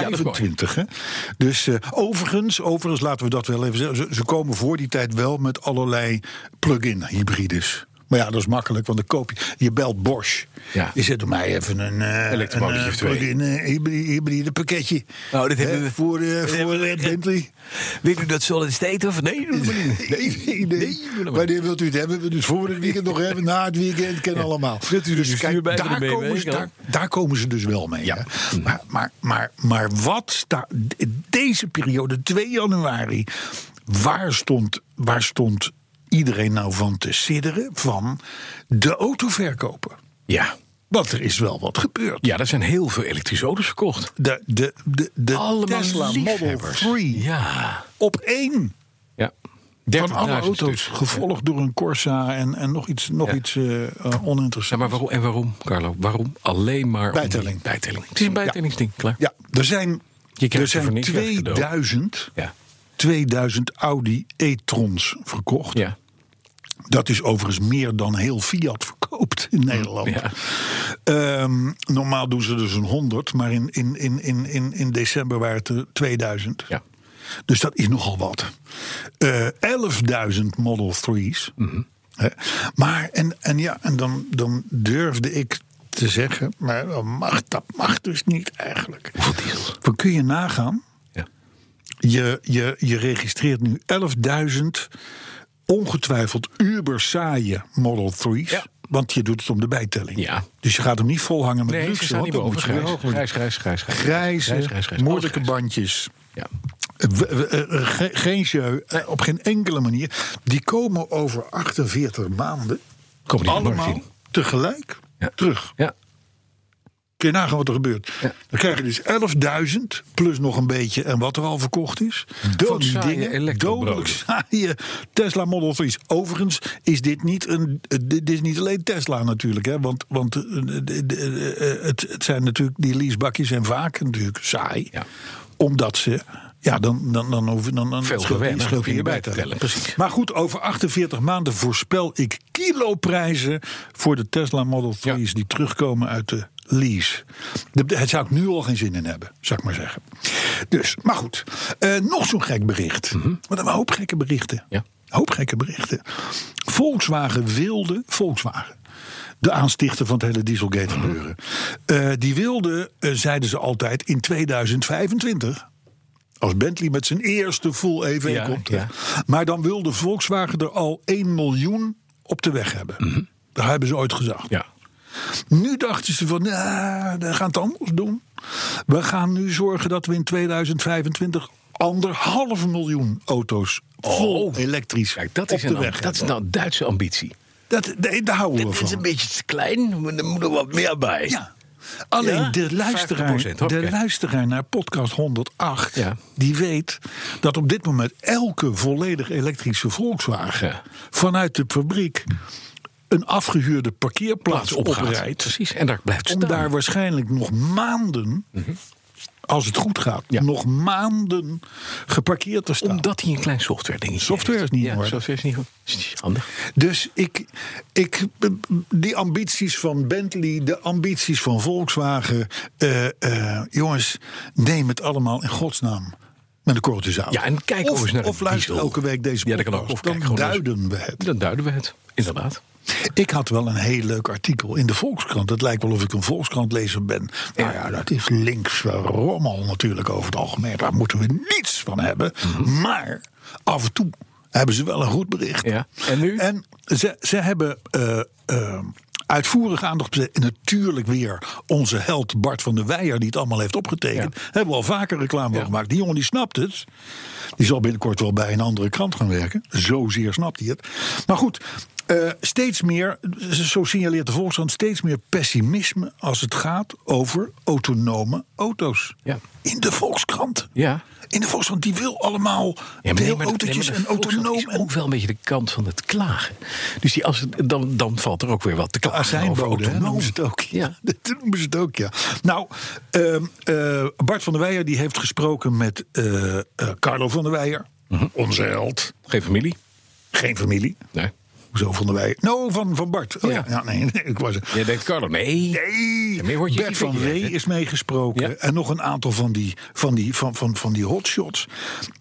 [SPEAKER 2] 2025. hè? Dus eh, overigens, overigens, laten we dat wel even zeggen. Ze, ze komen voor die tijd wel met allerlei plug-in hybrides. Maar ja, dat is makkelijk, want dan koop je. Je belt Bosch.
[SPEAKER 3] Ja.
[SPEAKER 2] Je zet door mij even een, eh,
[SPEAKER 3] Elektromolletje
[SPEAKER 2] een, eh,
[SPEAKER 3] of twee. Oh,
[SPEAKER 2] plug-in eh, hybride, hybride pakketje.
[SPEAKER 4] Nou, dit
[SPEAKER 2] Hè,
[SPEAKER 4] hebben we-
[SPEAKER 2] voor eh, voor eh, Bentley.
[SPEAKER 4] Weet u dat solid state of nee? doen we niet.
[SPEAKER 2] Nee, nee, nee. Wanneer wilt u het hebben? We Dus voor het weekend nog hebben, na het weekend, kennen allemaal.
[SPEAKER 4] Wilt u de
[SPEAKER 2] dus
[SPEAKER 4] bestuur bij
[SPEAKER 2] daar,
[SPEAKER 4] de BMW
[SPEAKER 2] komen ze,
[SPEAKER 4] dan?
[SPEAKER 2] daar, daar komen ze dus wel mee. hè. Maar, maar, maar, maar wat staat deze periode, 2 januari, waar stond, waar stond iedereen nou van te sidderen? Van de autoverkopen.
[SPEAKER 3] Ja.
[SPEAKER 2] Want er is wel wat gebeurd.
[SPEAKER 3] Ja, er zijn heel veel elektrische auto's verkocht.
[SPEAKER 2] De, de, de, de
[SPEAKER 3] Allemaal
[SPEAKER 2] Tesla Model
[SPEAKER 3] liefhebbers.
[SPEAKER 2] 3
[SPEAKER 3] Ja.
[SPEAKER 2] op één.
[SPEAKER 3] Ja.
[SPEAKER 2] Van alle
[SPEAKER 3] 30.000
[SPEAKER 2] auto's,
[SPEAKER 3] stuks.
[SPEAKER 2] gevolgd door een Corsa en, en nog iets, nog
[SPEAKER 3] Ja.
[SPEAKER 2] iets eh, eh,
[SPEAKER 3] Ja,
[SPEAKER 2] oninteressants.
[SPEAKER 3] maar waarom, en waarom, Carlo? Waarom alleen maar... om die
[SPEAKER 2] Bijtelling.
[SPEAKER 3] Bijtelling. Het is een bijtellingsding, klaar.
[SPEAKER 2] Ja, er zijn,
[SPEAKER 3] Je krijgt
[SPEAKER 2] er
[SPEAKER 3] ze voor
[SPEAKER 2] zijn
[SPEAKER 3] niks weg, cadeau.
[SPEAKER 2] 2000,
[SPEAKER 3] Ja.
[SPEAKER 2] 2000 Audi e-trons verkocht.
[SPEAKER 3] Ja.
[SPEAKER 2] Dat is overigens meer dan heel Fiat verkoopt in Nederland.
[SPEAKER 3] Mm, Ja.
[SPEAKER 2] Ehm, normaal doen ze dus een 100, maar in, in, in, in, in, in december waren het er 2000.
[SPEAKER 3] Ja.
[SPEAKER 2] Dus dat is nogal wat. Eh 11.000 Model 3's.
[SPEAKER 3] Mhm.
[SPEAKER 2] Hè? Maar, en, en ja, en dan, dan durfde ik te zeggen, maar dat mag, dat mag dus niet eigenlijk. Wat kun je nagaan?
[SPEAKER 3] Ja.
[SPEAKER 2] Je, je, je registreert nu 11.000 ongetwijfeld uber saaie Model 3's.
[SPEAKER 3] Ja.
[SPEAKER 2] Want je doet het om de bijtelling.
[SPEAKER 3] Ja.
[SPEAKER 2] Dus je gaat hem niet volhangen met
[SPEAKER 3] Nee, ze
[SPEAKER 2] luxe.
[SPEAKER 3] staan
[SPEAKER 2] want
[SPEAKER 3] niet
[SPEAKER 2] dat
[SPEAKER 3] boven.
[SPEAKER 2] moet je weer
[SPEAKER 3] Grijs,
[SPEAKER 2] hoog worden.
[SPEAKER 3] grijs, grijs, grijs. grijs.
[SPEAKER 2] Grijze,
[SPEAKER 3] Grijs, grijs, grijs.
[SPEAKER 2] moeilijke
[SPEAKER 3] Alles grijs.
[SPEAKER 2] bandjes.
[SPEAKER 3] Ja.
[SPEAKER 2] We- we- eh, eh, ge- Geen jeu, eh, op geen enkele manier. Die komen over 48 maanden
[SPEAKER 3] Komen die allemaal
[SPEAKER 2] allemaal
[SPEAKER 3] in.
[SPEAKER 2] tegelijk
[SPEAKER 3] Ja.
[SPEAKER 2] terug.
[SPEAKER 3] Ja.
[SPEAKER 2] Kun je nagaan wat er gebeurt. Dan krijg je dus 11.000 plus nog een beetje en wat er al verkocht is. Van die
[SPEAKER 3] Doodzaaie
[SPEAKER 2] dingen.
[SPEAKER 3] elektrobroden.
[SPEAKER 2] Dodelijk saaie Tesla Model 3's. Overigens is dit niet, een, eh, dit is niet alleen Tesla natuurlijk. Hè? Want, want eh, de- de- eh, het, het zijn natuurlijk, die leasebakjes zijn vaak natuurlijk saai.
[SPEAKER 3] Ja.
[SPEAKER 2] Omdat ze... Ja, dan, dan, dan hoef je dan, dan
[SPEAKER 3] Veel
[SPEAKER 2] scheelt die-
[SPEAKER 3] gewerkt,
[SPEAKER 2] scheelt
[SPEAKER 3] hoef je
[SPEAKER 2] die
[SPEAKER 3] niet
[SPEAKER 2] erbij
[SPEAKER 3] bij te tellen, precies.
[SPEAKER 2] Maar goed, over 48 maanden voorspel ik kiloprijzen voor de Tesla Model 3's
[SPEAKER 3] Ja.
[SPEAKER 2] die die terugkomen uit de lease. De- Daar zou ik nu al geen zin in hebben, zou ik maar zeggen. Dus, maar goed. Eh, nog zo'n gek bericht. Want er waren een hoop gekke berichten.
[SPEAKER 3] Mhm. Ja.
[SPEAKER 2] Een hoop gekke berichten. Volkswagen wilde, Volkswagen, de aanstichter van het hele Dieselgate
[SPEAKER 3] Mhm.
[SPEAKER 2] gebeuren. eh, die wilde, eh, zeiden ze altijd, in 2025... Als Bentley met zijn eerste full EV
[SPEAKER 3] Ja,
[SPEAKER 2] komt.
[SPEAKER 3] ja.
[SPEAKER 2] Maar dan wilde Volkswagen er al 1 miljoen op de weg hebben. Daar hebben ze ooit gezegd.
[SPEAKER 3] Mhm. Ja.
[SPEAKER 2] Nu dachten ze van, nou, we gaan het anders doen. We gaan nu zorgen dat we in 2025 anderhalf miljoen auto's vol elektrisch
[SPEAKER 3] Oh, Kijk, dat
[SPEAKER 2] op
[SPEAKER 3] is,
[SPEAKER 2] de
[SPEAKER 3] een,
[SPEAKER 2] weg
[SPEAKER 3] dat is
[SPEAKER 2] hebben.
[SPEAKER 3] nou Duitse ambitie.
[SPEAKER 2] Dat, nee, daar houden we
[SPEAKER 4] Dit is een
[SPEAKER 2] van.
[SPEAKER 4] beetje te klein, maar er moet nog wat meer bij.
[SPEAKER 2] Ja. Alleen
[SPEAKER 4] Ja?
[SPEAKER 2] de, luisteraar,
[SPEAKER 3] 50%, hoppakee.
[SPEAKER 2] de luisteraar naar podcast 108,
[SPEAKER 3] Ja.
[SPEAKER 2] die weet dat op dit moment elke volledig elektrische Volkswagen
[SPEAKER 3] Ja.
[SPEAKER 2] vanuit de fabriek een afgehuurde parkeerplaats
[SPEAKER 3] opgaat.
[SPEAKER 2] oprijdt.
[SPEAKER 3] Precies, en daar blijft
[SPEAKER 2] om
[SPEAKER 3] staan. Mhm.
[SPEAKER 2] daar waarschijnlijk nog maanden, als het goed gaat,
[SPEAKER 3] Ja.
[SPEAKER 2] nog maanden geparkeerd te staan.
[SPEAKER 3] Omdat hij een klein software dingetje
[SPEAKER 2] Software
[SPEAKER 3] heeft.
[SPEAKER 2] is niet
[SPEAKER 3] ja,
[SPEAKER 2] hoor.
[SPEAKER 3] Software is niet hoor. Is Handig.
[SPEAKER 2] Dus ik, ik, die ambities van Bentley, de ambities van Volkswagen. eh, eh, jongens, neem het allemaal in godsnaam met een korreltjes aan.
[SPEAKER 3] Ja, en kijk ook
[SPEAKER 2] of,
[SPEAKER 3] eens naar de
[SPEAKER 2] Of luister
[SPEAKER 3] diesel.
[SPEAKER 2] elke week deze
[SPEAKER 3] Ja,
[SPEAKER 2] podcast.
[SPEAKER 3] dat kan ook. Of kijk
[SPEAKER 2] dan
[SPEAKER 3] gewoon eens-
[SPEAKER 2] duiden we het.
[SPEAKER 3] Dan duiden we het, inderdaad.
[SPEAKER 2] Ik had wel een heel leuk artikel in de Volkskrant. Het lijkt wel of ik een Volkskrantlezer ben. Nou ja, dat is linkse rommel natuurlijk over het algemeen. Daar moeten we niets van hebben.
[SPEAKER 3] Mhm.
[SPEAKER 2] Maar af en toe hebben ze wel een goed bericht.
[SPEAKER 3] Ja. En nu?
[SPEAKER 2] En ze, ze hebben eh, eh, uitvoerig aandacht besteed. En natuurlijk weer onze held Bart van der Weijer... die het allemaal heeft opgetekend. Hebben we al vaker reclame voor
[SPEAKER 3] Ja.
[SPEAKER 2] gemaakt. Die jongen die snapt het. Die zal binnenkort wel bij een andere krant gaan werken. Zozeer snapt hij het. Maar goed, eh, steeds meer, zo signaleert de Volkskrant, steeds meer pessimisme als het gaat over autonome auto's.
[SPEAKER 3] Ja.
[SPEAKER 2] In de Volkskrant.
[SPEAKER 3] Ja.
[SPEAKER 2] In de Volkskrant, die wil allemaal veel autootjes en autonoom.
[SPEAKER 3] is
[SPEAKER 2] en-
[SPEAKER 3] ook wel een beetje de kant van het klagen. Dus die, als het, dan, dan valt er ook weer wat te
[SPEAKER 2] De
[SPEAKER 3] klagen
[SPEAKER 2] Azijnbode, hè, noemen ze het ook.
[SPEAKER 3] Ja.
[SPEAKER 2] Dat noemen ze het ook, ja. Nou, ehm, eh, Bart van der Weijer die heeft gesproken met eh, eh, Carlo van der Weijer. Onze held.
[SPEAKER 3] Geen familie?
[SPEAKER 2] Geen familie.
[SPEAKER 3] Nee.
[SPEAKER 2] Hoezo van der Weijer? No, van, van Bart. Oh, ja.
[SPEAKER 3] Ja.
[SPEAKER 2] ja, nee, nee, ik was er.
[SPEAKER 3] Jij denkt, Carlo, nee.
[SPEAKER 2] Nee,
[SPEAKER 3] meer hoort je
[SPEAKER 2] Bert
[SPEAKER 3] niet
[SPEAKER 2] van
[SPEAKER 3] van je,
[SPEAKER 2] Ree
[SPEAKER 3] hè?
[SPEAKER 2] is meegesproken.
[SPEAKER 3] Ja.
[SPEAKER 2] En nog een aantal van die, van die, van, van, van die hotshots.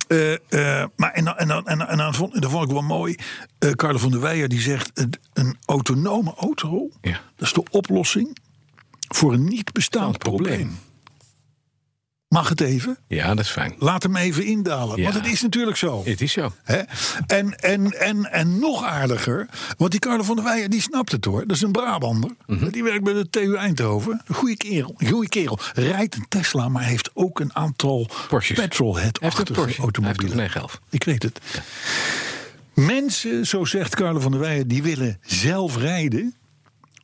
[SPEAKER 2] Eh, eh, maar en, dan- en, dan- en, dan- en dan vond, dat vond ik wel mooi. Eh Carlo van der Weijer die zegt... een- een autonome auto,
[SPEAKER 3] Ja.
[SPEAKER 2] dat is de oplossing... voor een niet bestaand
[SPEAKER 3] Bestaand
[SPEAKER 2] probleem.
[SPEAKER 3] probleem.
[SPEAKER 2] Mag het even?
[SPEAKER 3] Ja, dat is fijn.
[SPEAKER 2] Laat hem even indalen.
[SPEAKER 3] Ja.
[SPEAKER 2] Want het is natuurlijk zo.
[SPEAKER 3] Het is zo.
[SPEAKER 2] Hè? En, en, en, en nog aardiger, want die Carlo van der Weijer, die snapt het hoor. Dat is een Brabander.
[SPEAKER 3] Mhm.
[SPEAKER 2] Die werkt bij de TU Eindhoven. Goeie kerel, goeie kerel. Rijdt een Tesla, maar heeft ook een aantal
[SPEAKER 3] Porsches. Hij heeft een
[SPEAKER 2] petrolhead-achtige
[SPEAKER 3] Porsche.
[SPEAKER 2] automobielen.
[SPEAKER 3] Hij heeft een 911.
[SPEAKER 2] Ik weet het. Mensen, zo zegt Carlo van der Weijer, die willen zelf rijden.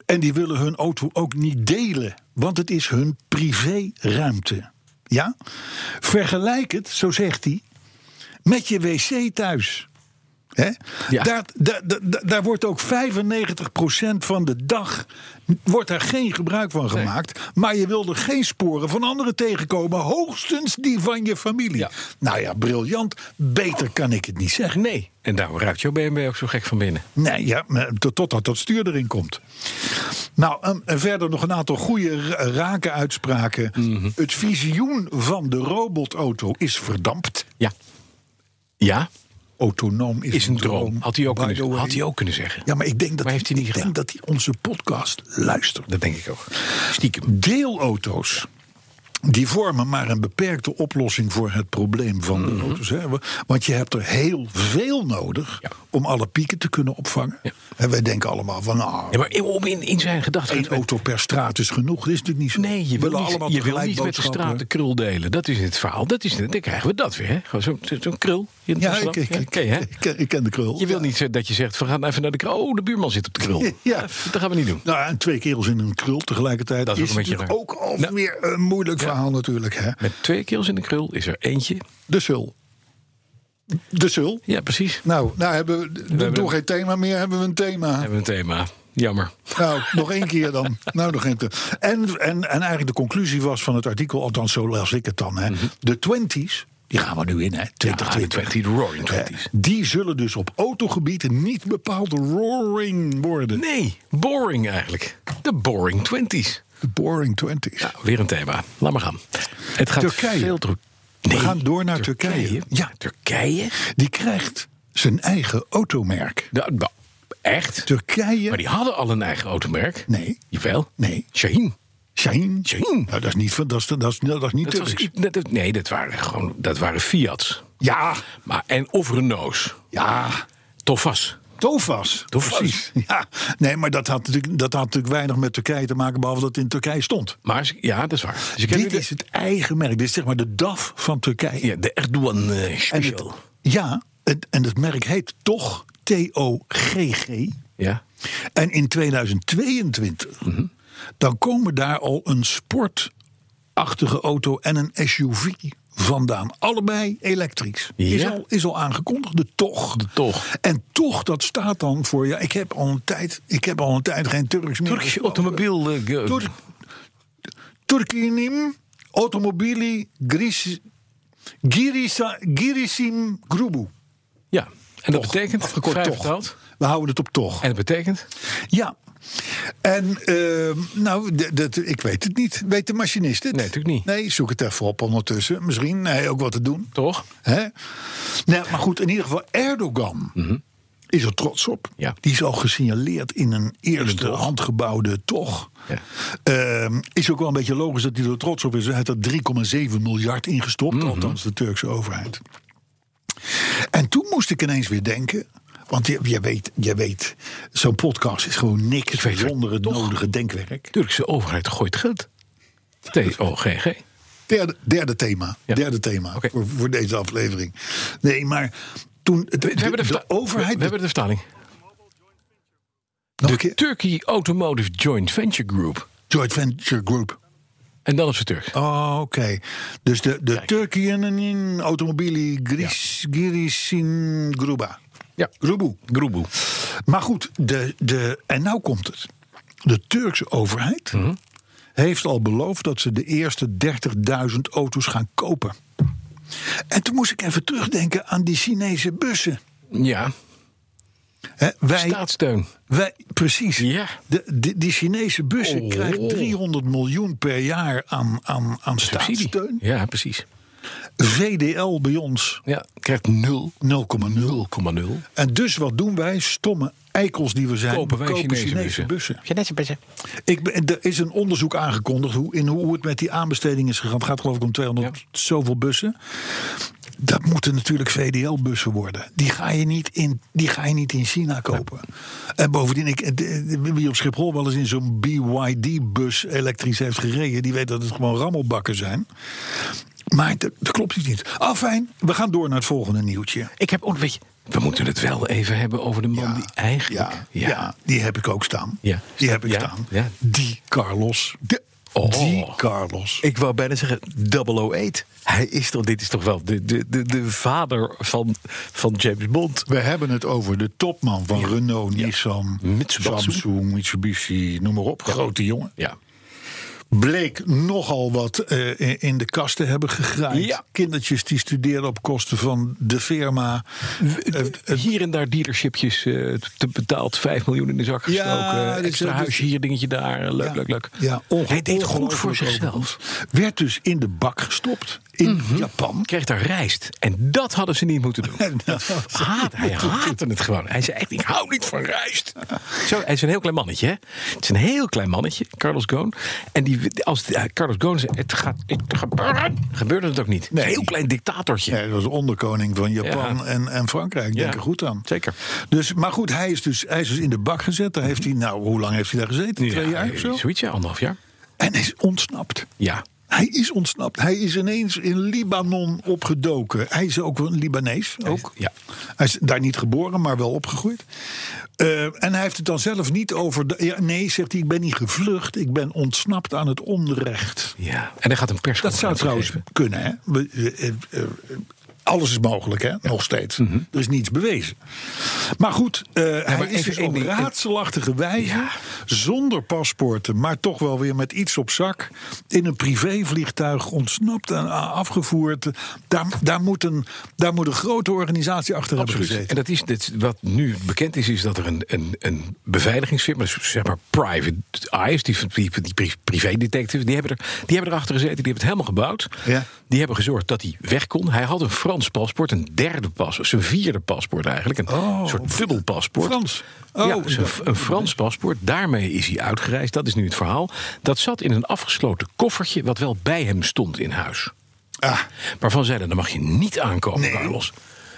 [SPEAKER 2] En die willen hun auto ook niet delen, want het is hun privéruimte. Ja? Vergelijk het, zo zegt hij, met je wc thuis. Hè?
[SPEAKER 3] Ja.
[SPEAKER 2] Daar, daar, daar, daar wordt ook 95% van de dag wordt daar geen gebruik van gemaakt. Maar je wil er geen sporen van anderen tegenkomen. Hoogstens die van je familie.
[SPEAKER 3] Ja.
[SPEAKER 2] Nou ja, briljant. Beter kan ik het niet zeggen.
[SPEAKER 3] Nee. En daarom ruikt jouw BMW ook zo gek van binnen.
[SPEAKER 2] Nee, ja, maar tot- totdat dat stuur erin komt. Nou, en- en verder nog een aantal goede ra- rake uitspraken.
[SPEAKER 3] Mhm.
[SPEAKER 2] Het visioen van de robotauto is verdampt.
[SPEAKER 3] Ja. Ja,
[SPEAKER 2] Autonoom is,
[SPEAKER 3] is een droom. Had hij ook,
[SPEAKER 2] by the
[SPEAKER 3] kunnen,
[SPEAKER 2] way.
[SPEAKER 3] had hij ook kunnen zeggen.
[SPEAKER 2] Ja, maar ik denk dat,
[SPEAKER 3] Maar heeft hij niet
[SPEAKER 2] ik denk
[SPEAKER 3] gedaan.
[SPEAKER 2] dat hij onze podcast luistert.
[SPEAKER 3] Dat denk ik ook. Stiekem.
[SPEAKER 2] deelauto's. Die vormen maar een beperkte oplossing voor het probleem van
[SPEAKER 3] Mhm.
[SPEAKER 2] de auto's. Hè? Want je hebt er heel veel nodig
[SPEAKER 3] Ja.
[SPEAKER 2] om alle pieken te kunnen opvangen.
[SPEAKER 3] Ja.
[SPEAKER 2] En wij denken allemaal van, nou,
[SPEAKER 3] Ja, maar in- om in, in zijn gedachten.
[SPEAKER 2] één auto per straat is genoeg. Dat is natuurlijk niet zo.
[SPEAKER 3] Nee, je
[SPEAKER 2] We
[SPEAKER 3] wil
[SPEAKER 2] willen
[SPEAKER 3] niet,
[SPEAKER 2] allemaal
[SPEAKER 3] je wil
[SPEAKER 2] tegelijk
[SPEAKER 3] niet met de
[SPEAKER 2] boodschappen.
[SPEAKER 3] straat de krul delen. Dat is het verhaal. Dat is, dan krijgen we dat weer. hè. Gewoon zo'n zo, zo'n krul. in
[SPEAKER 2] Ja, ik,
[SPEAKER 3] Amsterdam.
[SPEAKER 2] ik, ik,
[SPEAKER 3] ken je, hè?
[SPEAKER 2] ik ken- ik ken de krul.
[SPEAKER 3] Je wil
[SPEAKER 2] Ja.
[SPEAKER 3] niet zo- dat je zegt, we gaan even naar de krul. Oh, de buurman zit op de krul.
[SPEAKER 2] Ja.
[SPEAKER 3] Dat gaan we niet doen.
[SPEAKER 2] Nou, en twee kerels in een krul tegelijkertijd.
[SPEAKER 3] Dat is ook een beetje
[SPEAKER 2] natuurlijk ook
[SPEAKER 3] raar.
[SPEAKER 2] al
[SPEAKER 3] Nou.
[SPEAKER 2] weer een moeilijk verhaal natuurlijk. Hè?
[SPEAKER 3] Met twee keels in de krul is er eentje.
[SPEAKER 2] De sul. De sul.
[SPEAKER 3] Ja, precies.
[SPEAKER 2] Nou, nou hebben we,
[SPEAKER 3] hebben
[SPEAKER 2] door
[SPEAKER 3] een-
[SPEAKER 2] geen thema meer hebben we een thema.
[SPEAKER 3] Hebben we een thema. Jammer.
[SPEAKER 2] Nou, nog één keer dan. Nou, nog één keer. En, en, en eigenlijk de conclusie was van het artikel, althans zo las ik het dan. Hè.
[SPEAKER 3] Mhm.
[SPEAKER 2] De twenties, die gaan we nu in, hè? 2020.
[SPEAKER 3] 20, de roaring
[SPEAKER 2] Hè,
[SPEAKER 3] 20s.
[SPEAKER 2] die zullen dus op autogebieden niet bepaald roaring worden.
[SPEAKER 3] Nee, boring eigenlijk. De boring twenties.
[SPEAKER 2] De boring twenties.
[SPEAKER 3] Ja, weer een thema. Laat maar gaan. Het gaat
[SPEAKER 2] Turkije.
[SPEAKER 3] veel druk.
[SPEAKER 2] We gaan door naar Turkije.
[SPEAKER 3] Ja, Turkije.
[SPEAKER 2] Die krijgt zijn eigen automerk.
[SPEAKER 3] Nou, nou, echt?
[SPEAKER 2] Turkije.
[SPEAKER 3] Maar die hadden al een eigen automerk.
[SPEAKER 2] Nee.
[SPEAKER 3] Jawel.
[SPEAKER 2] Nee.
[SPEAKER 3] Shaheen.
[SPEAKER 2] Shaheen.
[SPEAKER 3] Shaheen.
[SPEAKER 2] Nou, dat is niet, van- dat is, dat is, dat is niet
[SPEAKER 3] Dat was,
[SPEAKER 2] Turks.
[SPEAKER 3] i- dat- dat- nee, dat waren gewoon dat waren Fiat's.
[SPEAKER 2] Ja,
[SPEAKER 3] Maar, en of Renaults.
[SPEAKER 2] ja.
[SPEAKER 3] Tofas.
[SPEAKER 2] Tovas.
[SPEAKER 3] Tovas.
[SPEAKER 2] Precies. Ja. Nee, maar dat had, natuurlijk, dat had natuurlijk weinig met Turkije te maken, behalve dat het in Turkije stond.
[SPEAKER 3] Maar ze- ja, dat is waar. Dus ik heb nu
[SPEAKER 2] Dit
[SPEAKER 3] de-
[SPEAKER 2] is het eigen merk. Dit is zeg maar de DAF van Turkije.
[SPEAKER 3] ja, de Erdogan eh,
[SPEAKER 2] en het,
[SPEAKER 3] special.
[SPEAKER 2] ja, het- en het merk heet toch TOGG.
[SPEAKER 3] Ja.
[SPEAKER 2] En in 2022, dan komen daar al een sportachtige auto en een SUV vandaan. Allebei elektrisch. Is,
[SPEAKER 3] Ja.
[SPEAKER 2] al, is al aangekondigd, de toch.
[SPEAKER 3] De Tog.
[SPEAKER 2] En toch, dat staat dan voor... Ja, ik heb al een tijd, ik heb al een tijd geen Turks meer.
[SPEAKER 3] Turkse
[SPEAKER 2] gesproken.
[SPEAKER 3] automobiel. eh, ge-
[SPEAKER 2] Tur Turkinim Automobili Gris, Girisa, Girisim Grubu.
[SPEAKER 3] ja. En dat
[SPEAKER 2] Toch.
[SPEAKER 3] betekent,
[SPEAKER 2] Afgekort
[SPEAKER 3] vrij
[SPEAKER 2] toch.
[SPEAKER 3] vertaald.
[SPEAKER 2] We houden het op toch.
[SPEAKER 3] En dat betekent,
[SPEAKER 2] Ja. En ehm, nou, d- dat, ik weet het niet. Weet de machinist het?
[SPEAKER 3] Nee, natuurlijk niet.
[SPEAKER 2] Nee, zoek het even op ondertussen. Misschien nee, ook wat te doen.
[SPEAKER 3] toch?
[SPEAKER 2] Hè? Nou, maar goed, in ieder geval Erdogan is er trots op.
[SPEAKER 3] Mhm. Ja.
[SPEAKER 2] Die is al gesignaleerd in een eerste handgebouwde toch.
[SPEAKER 3] Ja.
[SPEAKER 2] Ehm, is ook wel een beetje logisch dat hij er trots op is. Hij heeft er 3,7 miljard ingestopt,
[SPEAKER 3] Mhm.
[SPEAKER 2] althans de Turkse overheid. En toen moest ik ineens weer denken. Want je, je weet, je weet zo'n podcast is gewoon niks
[SPEAKER 3] weet het
[SPEAKER 2] zonder het nodige denkwerk.
[SPEAKER 3] Turkse overheid gooit geld. oh, T-O-G-G.
[SPEAKER 2] Derde, derde thema.
[SPEAKER 3] Ja.
[SPEAKER 2] Derde thema
[SPEAKER 3] Oké.
[SPEAKER 2] voor, voor deze aflevering. Nee, maar toen. het-
[SPEAKER 3] We hebben de, verta-
[SPEAKER 2] overheid.
[SPEAKER 3] we- we hebben de vertaling.
[SPEAKER 2] nog een keer.
[SPEAKER 3] Turkey Automotive Joint Venture Group.
[SPEAKER 2] Joint Venture Group.
[SPEAKER 3] En dan op zijn Turk.
[SPEAKER 2] Oh, oké. Dus de, de Turkiën Automobili Gris, Girisin Gruba.
[SPEAKER 3] Ja.
[SPEAKER 2] Grubu.
[SPEAKER 3] Groeboe.
[SPEAKER 2] Maar goed, de, de, en nou komt het. De Turkse overheid
[SPEAKER 3] Mhm.
[SPEAKER 2] heeft al beloofd dat ze de eerste 30.000 auto's gaan kopen. En toen moest ik even terugdenken aan die Chinese bussen.
[SPEAKER 3] Ja.
[SPEAKER 2] Hè, wij,
[SPEAKER 3] Staatssteun.
[SPEAKER 2] wij, precies.
[SPEAKER 3] Ja.
[SPEAKER 2] De, die- die Chinese bussen
[SPEAKER 3] Oh.
[SPEAKER 2] krijgen 300 miljoen per jaar aan, aan, aan
[SPEAKER 3] Subsidie.
[SPEAKER 2] staatssteun.
[SPEAKER 3] Ja, precies.
[SPEAKER 2] VDL bij ons
[SPEAKER 3] Ja. Krijgt 0,0.
[SPEAKER 2] 0,0. En dus wat doen wij, stomme eikels die we zijn?
[SPEAKER 3] Kopen wij
[SPEAKER 2] we
[SPEAKER 3] Chinese bussen.
[SPEAKER 5] Chinese bussen.
[SPEAKER 2] Ik ben, er is een onderzoek aangekondigd hoe, in hoe het met die aanbesteding is gegaan. Het gaat geloof ik om 200
[SPEAKER 3] Ja.
[SPEAKER 2] zoveel bussen. Dat moeten natuurlijk VDL-bussen worden. Die ga, je niet in, die ga je niet in China kopen. En bovendien, ik, eh, eh, wie op Schiphol wel eens in zo'n BYD-bus elektrisch heeft gereden... die weet dat het gewoon rammelbakken zijn. Maar dat, dat klopt iets niet. Afijn, we gaan door naar het volgende nieuwtje.
[SPEAKER 3] Ik heb ook, weet je, we moeten het wel even hebben over de man die eigenlijk...
[SPEAKER 2] Ja, ja. die heb ik ook staan.
[SPEAKER 3] Ja.
[SPEAKER 2] Die heb ik
[SPEAKER 3] Ja,
[SPEAKER 2] staan.
[SPEAKER 3] ja.
[SPEAKER 2] Die Carlos. De,
[SPEAKER 3] Oh.
[SPEAKER 2] Die Carlos.
[SPEAKER 4] Ik wou bijna zeggen 008.
[SPEAKER 3] Hij is toch, dit is toch wel de, de, de, de vader van, van James Bond.
[SPEAKER 2] We hebben het over de topman van Renault, Nissan,
[SPEAKER 3] Mitsubishi.
[SPEAKER 2] Samsung, Mitsubishi, noem maar op. Grote jongen.
[SPEAKER 3] Ja.
[SPEAKER 2] Bleek nogal wat eh, in- in de kast te hebben gegraaid.
[SPEAKER 3] Ja.
[SPEAKER 2] Kindertjes die studeerden op kosten van de firma. Eh,
[SPEAKER 3] hier en daar dealershipjes eh, te betaald, 5 miljoen in de zak
[SPEAKER 2] Ja,
[SPEAKER 3] gestoken.
[SPEAKER 2] dit is-
[SPEAKER 3] extra
[SPEAKER 2] dit-
[SPEAKER 3] huisje hier, dingetje daar. eh, Leuk, leuk, leuk.
[SPEAKER 2] Ja, onge-
[SPEAKER 3] Hij deed goed voor
[SPEAKER 2] ongelooflijk
[SPEAKER 3] zichzelf. Mhm.
[SPEAKER 2] overigens. Werd dus in de bak gestopt in Japan.
[SPEAKER 3] Kreeg daar rijst. En dat hadden ze niet moeten doen. Dat haat, hij haatte het gewoon. Hij zei echt, ik hou niet van rijst. Zo, hij is een heel klein mannetje, hè? Het is een heel klein mannetje, Carlos Ghosn. En die, als eh, Carlos Ghosn zei, het gaat het gebeuren, gebeurde het ook niet.
[SPEAKER 2] Nee.
[SPEAKER 3] Een heel klein dictatortje.
[SPEAKER 2] Ja, dat was onderkoning van Japan
[SPEAKER 3] Ja.
[SPEAKER 2] en, en Frankrijk. Denk
[SPEAKER 3] Ja,
[SPEAKER 2] er goed aan.
[SPEAKER 3] zeker.
[SPEAKER 2] Dus, maar goed, hij is, dus, hij is dus in de bak gezet. Daar heeft hij, nou, hoe lang heeft hij daar gezeten? Twee
[SPEAKER 3] Ja,
[SPEAKER 2] jaar of zo?
[SPEAKER 3] Zoiets, ja, anderhalf jaar.
[SPEAKER 2] En hij is ontsnapt.
[SPEAKER 3] Ja.
[SPEAKER 2] Hij is ontsnapt. Hij is ineens in Libanon opgedoken. Hij is ook wel een Libanees. Ook.
[SPEAKER 3] ja.
[SPEAKER 2] Hij is daar niet geboren, maar wel opgegroeid. Eh, en hij heeft het dan zelf niet over. de- ja, nee, zegt hij, ik ben niet gevlucht. Ik ben ontsnapt aan het onrecht.
[SPEAKER 3] ja. En hij gaat een persconferentie
[SPEAKER 2] Dat zou trouwens
[SPEAKER 3] geven.
[SPEAKER 2] kunnen, hè? We- eh, eh, eh, Alles is mogelijk, hè? Nog steeds.
[SPEAKER 3] Mhm.
[SPEAKER 2] Er is niets bewezen. Maar goed, eh, hij is
[SPEAKER 3] even
[SPEAKER 2] dus
[SPEAKER 3] één
[SPEAKER 2] op
[SPEAKER 3] ding.
[SPEAKER 2] raadselachtige wijze,
[SPEAKER 3] Ja.
[SPEAKER 2] zonder paspoorten, maar toch wel weer met iets op zak, in een privévliegtuig ontsnapt en a- afgevoerd. Daar, daar, moet, een, daar moet een grote organisatie achter hebben
[SPEAKER 3] Absoluut. En
[SPEAKER 2] gezeten.
[SPEAKER 3] dat is, dit, wat nu bekend is, is dat er een, een, een beveiligingsfirma, dus zeg maar private eyes, die, die, die pri- privédetectives, die hebben, er, die hebben erachter gezeten, die hebben het helemaal gebouwd.
[SPEAKER 2] Ja.
[SPEAKER 3] Die hebben gezorgd dat hij weg kon. Hij had een Frans paspoort, een derde paspoort, zijn vierde paspoort eigenlijk, een
[SPEAKER 2] Oh,
[SPEAKER 3] soort dubbel paspoort.
[SPEAKER 2] Frans.
[SPEAKER 3] Oh, ja,
[SPEAKER 2] Oh,
[SPEAKER 3] dus een,
[SPEAKER 2] dat-
[SPEAKER 3] een Frans paspoort. Daarmee is hij uitgereisd. Dat is nu het verhaal. Dat zat in een afgesloten koffertje, wat wel bij hem stond in huis.
[SPEAKER 2] Ah,
[SPEAKER 3] Waarvan zeiden, dan mag je niet aankomen,
[SPEAKER 2] Nee.
[SPEAKER 3] Carlos.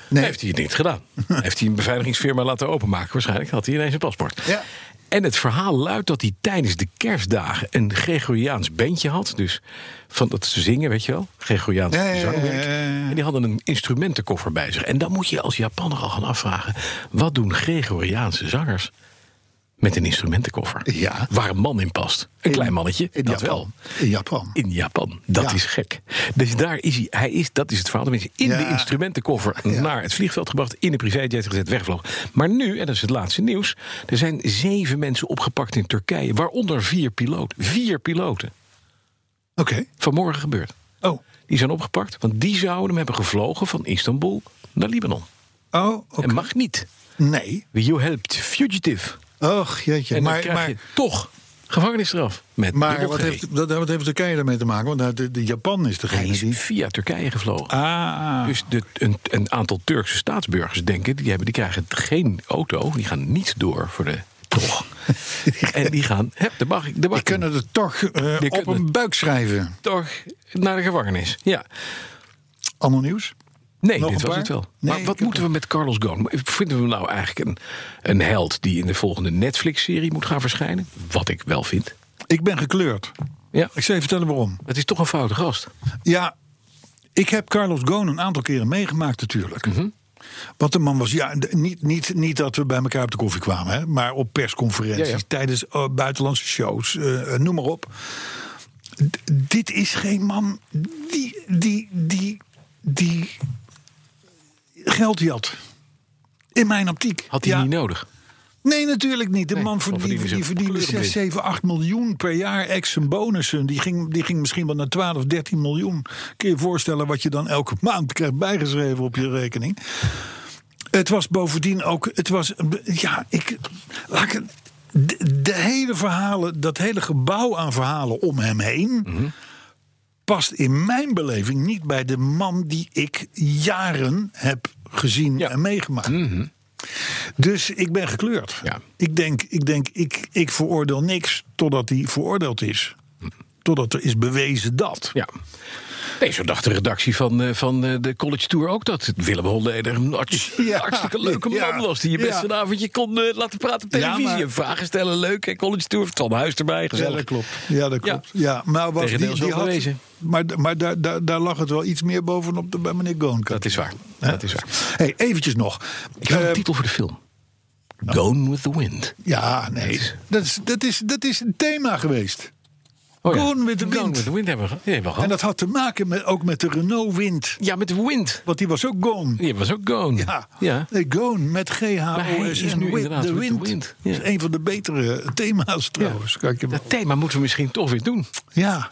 [SPEAKER 2] Nee.
[SPEAKER 3] Heeft hij het niet gedaan. heeft hij een beveiligingsfirma laten openmaken. Waarschijnlijk had hij ineens een paspoort.
[SPEAKER 2] Ja.
[SPEAKER 3] En het verhaal luidt dat hij tijdens de kerstdagen een Gregoriaans bandje had. Dus van dat zingen, weet je wel. Gregoriaans
[SPEAKER 2] Ja, ja, ja, ja,
[SPEAKER 3] zangwerk.
[SPEAKER 2] ja, ja.
[SPEAKER 3] En die hadden een instrumentenkoffer bij zich. En dan moet je als Japaner al gaan afvragen. Wat doen Gregoriaanse zangers met een instrumentenkoffer.
[SPEAKER 2] Ja.
[SPEAKER 3] Waar een man in past. Een
[SPEAKER 2] In-
[SPEAKER 3] klein mannetje,
[SPEAKER 2] in
[SPEAKER 3] dat
[SPEAKER 2] Japan.
[SPEAKER 3] wel.
[SPEAKER 2] In Japan.
[SPEAKER 3] In Japan. Dat
[SPEAKER 2] Ja.
[SPEAKER 3] is gek. Dus daar is hij. hij is, dat is het verhaal. Tenminste, in
[SPEAKER 2] Ja.
[SPEAKER 3] de instrumentenkoffer
[SPEAKER 2] Ja.
[SPEAKER 3] naar het vliegveld gebracht. In de privéjet gezet, weggevlogen. Maar nu, en dat is het laatste nieuws. Er zijn zeven mensen opgepakt in Turkije. Waaronder vier piloten. Vier piloten.
[SPEAKER 2] Oké.
[SPEAKER 3] Vanmorgen gebeurd.
[SPEAKER 2] Oh.
[SPEAKER 3] Die zijn opgepakt. Want die zouden hem hebben gevlogen van Istanbul naar Libanon.
[SPEAKER 2] Oh, oké.
[SPEAKER 3] En mag niet.
[SPEAKER 2] Nee.
[SPEAKER 3] You helped fugitive.
[SPEAKER 2] Och, jeetje.
[SPEAKER 3] En dan
[SPEAKER 2] maar
[SPEAKER 3] krijg
[SPEAKER 2] maar,
[SPEAKER 3] je toch gevangenisstraf. Met
[SPEAKER 2] maar
[SPEAKER 3] dubbel
[SPEAKER 2] wat,
[SPEAKER 3] G.
[SPEAKER 2] heeft, dat, wat heeft Turkije daarmee te maken? Want nou, de, de Japan is
[SPEAKER 3] Hij
[SPEAKER 2] degene
[SPEAKER 3] is
[SPEAKER 2] die...
[SPEAKER 3] via Turkije gevlogen.
[SPEAKER 2] Ah.
[SPEAKER 3] Dus de, een, een aantal Turkse staatsburgers denken, die, hebben, die krijgen geen auto, die gaan niet door voor de toch. en die gaan, heb, de mag ik, de mag
[SPEAKER 2] Die
[SPEAKER 3] ik
[SPEAKER 2] kunnen het toch eh,
[SPEAKER 3] Die
[SPEAKER 2] op
[SPEAKER 3] kunnen-
[SPEAKER 2] een buik schrijven.
[SPEAKER 3] toch naar de gevangenis. Ja.
[SPEAKER 2] Ander nieuws?
[SPEAKER 3] Nee,
[SPEAKER 2] Nog
[SPEAKER 3] dit
[SPEAKER 2] een
[SPEAKER 3] was
[SPEAKER 2] paar?
[SPEAKER 3] het wel.
[SPEAKER 2] Nee,
[SPEAKER 3] maar
[SPEAKER 2] ik
[SPEAKER 3] wat
[SPEAKER 2] heb
[SPEAKER 3] moeten we met Carlos Ghosn? Vinden we hem nou eigenlijk een, een held die in de volgende Netflix-serie moet gaan verschijnen? Wat ik wel vind.
[SPEAKER 2] Ik ben gekleurd.
[SPEAKER 3] Ja,
[SPEAKER 2] Ik zal je vertellen waarom.
[SPEAKER 3] het is toch een foute gast.
[SPEAKER 2] Ja, ik heb Carlos Ghosn een aantal keren meegemaakt natuurlijk.
[SPEAKER 3] Mhm.
[SPEAKER 2] Wat een man was. Ja, d- niet, niet, niet dat we bij elkaar op de koffie kwamen. Hè, maar op persconferenties,
[SPEAKER 3] Ja, ja.
[SPEAKER 2] tijdens eh, buitenlandse shows, eh, eh, noem maar op. D- dit is geen man die, die, die, die geld jat. In mijn optiek.
[SPEAKER 3] Had hij
[SPEAKER 2] Ja.
[SPEAKER 3] niet nodig.
[SPEAKER 2] Nee, natuurlijk niet. De
[SPEAKER 3] Nee,
[SPEAKER 2] man
[SPEAKER 3] dan verdienen
[SPEAKER 2] verdiende,
[SPEAKER 3] ze
[SPEAKER 2] die verdiende
[SPEAKER 3] kleurenblind.
[SPEAKER 2] 6, 7, 8 miljoen per jaar ex en bonussen. Die ging, die ging misschien wel naar 12, 13 miljoen. Kun je je voorstellen wat je dan elke maand krijgt bijgeschreven op je rekening. Het was bovendien ook. Het was. Ja, ik. Laat ik het- de, de hele verhalen. Dat hele gebouw aan verhalen om hem heen. past in mijn beleving niet bij de man die ik jaren heb gezien
[SPEAKER 3] Ja. Mhm.
[SPEAKER 2] en meegemaakt. Dus ik ben gekleurd.
[SPEAKER 3] Ja.
[SPEAKER 2] Ik denk, ik, denk ik, ik veroordeel niks totdat hij veroordeeld is. Totdat er is bewezen dat.
[SPEAKER 3] Ja. Nee, zo dacht de redactie van, eh, van eh, de College Tour ook dat. Willem Holleder een hart-
[SPEAKER 2] Ja.
[SPEAKER 3] hartstikke leuke man
[SPEAKER 2] Ja.
[SPEAKER 3] was. Die je best
[SPEAKER 2] Ja.
[SPEAKER 3] een avondje kon eh, laten praten op
[SPEAKER 2] Ja,
[SPEAKER 3] televisie.
[SPEAKER 2] maar-
[SPEAKER 3] En Vragen stellen, leuk. Hè, college Tour, Tom Huis erbij, gezellig.
[SPEAKER 2] Ja, dat
[SPEAKER 3] Ja.
[SPEAKER 2] klopt. Ja. Maar, was,
[SPEAKER 3] Tegendeel
[SPEAKER 2] die,
[SPEAKER 3] is
[SPEAKER 2] die
[SPEAKER 3] wel
[SPEAKER 2] had,
[SPEAKER 3] bewezen.
[SPEAKER 2] maar, maar daar, daar, daar lag het wel iets meer bovenop dan bij meneer Goon.
[SPEAKER 3] Dat is waar. Dat is waar.
[SPEAKER 2] Hey, eventjes nog.
[SPEAKER 3] Ik wil
[SPEAKER 2] Eh, oh.
[SPEAKER 3] een titel voor de film. Gone with the Wind.
[SPEAKER 2] ja, nee.
[SPEAKER 3] Jezus.
[SPEAKER 2] Dat is, dat, is, dat is een thema geweest.
[SPEAKER 3] Oh,
[SPEAKER 2] Gone with the
[SPEAKER 3] Gone
[SPEAKER 2] Wind.
[SPEAKER 3] with the Wind hebben we, ge- die hebben we
[SPEAKER 2] En
[SPEAKER 3] gehad.
[SPEAKER 2] dat had te maken met, ook met de Renault Wind.
[SPEAKER 3] Ja, met de wind.
[SPEAKER 2] Want die was ook gone.
[SPEAKER 3] Die was ook gone.
[SPEAKER 2] Ja,
[SPEAKER 3] ja.
[SPEAKER 2] Nee, gone met
[SPEAKER 3] Maar hij
[SPEAKER 2] GHOS
[SPEAKER 3] is
[SPEAKER 2] en
[SPEAKER 3] nu
[SPEAKER 2] with
[SPEAKER 3] inderdaad
[SPEAKER 2] the
[SPEAKER 3] with the
[SPEAKER 2] wind.
[SPEAKER 3] wind.
[SPEAKER 2] Dat
[SPEAKER 3] Ja.
[SPEAKER 2] is een van de betere thema's trouwens. Kijk je wel.
[SPEAKER 3] Dat thema moeten we misschien toch weer doen.
[SPEAKER 2] Ja.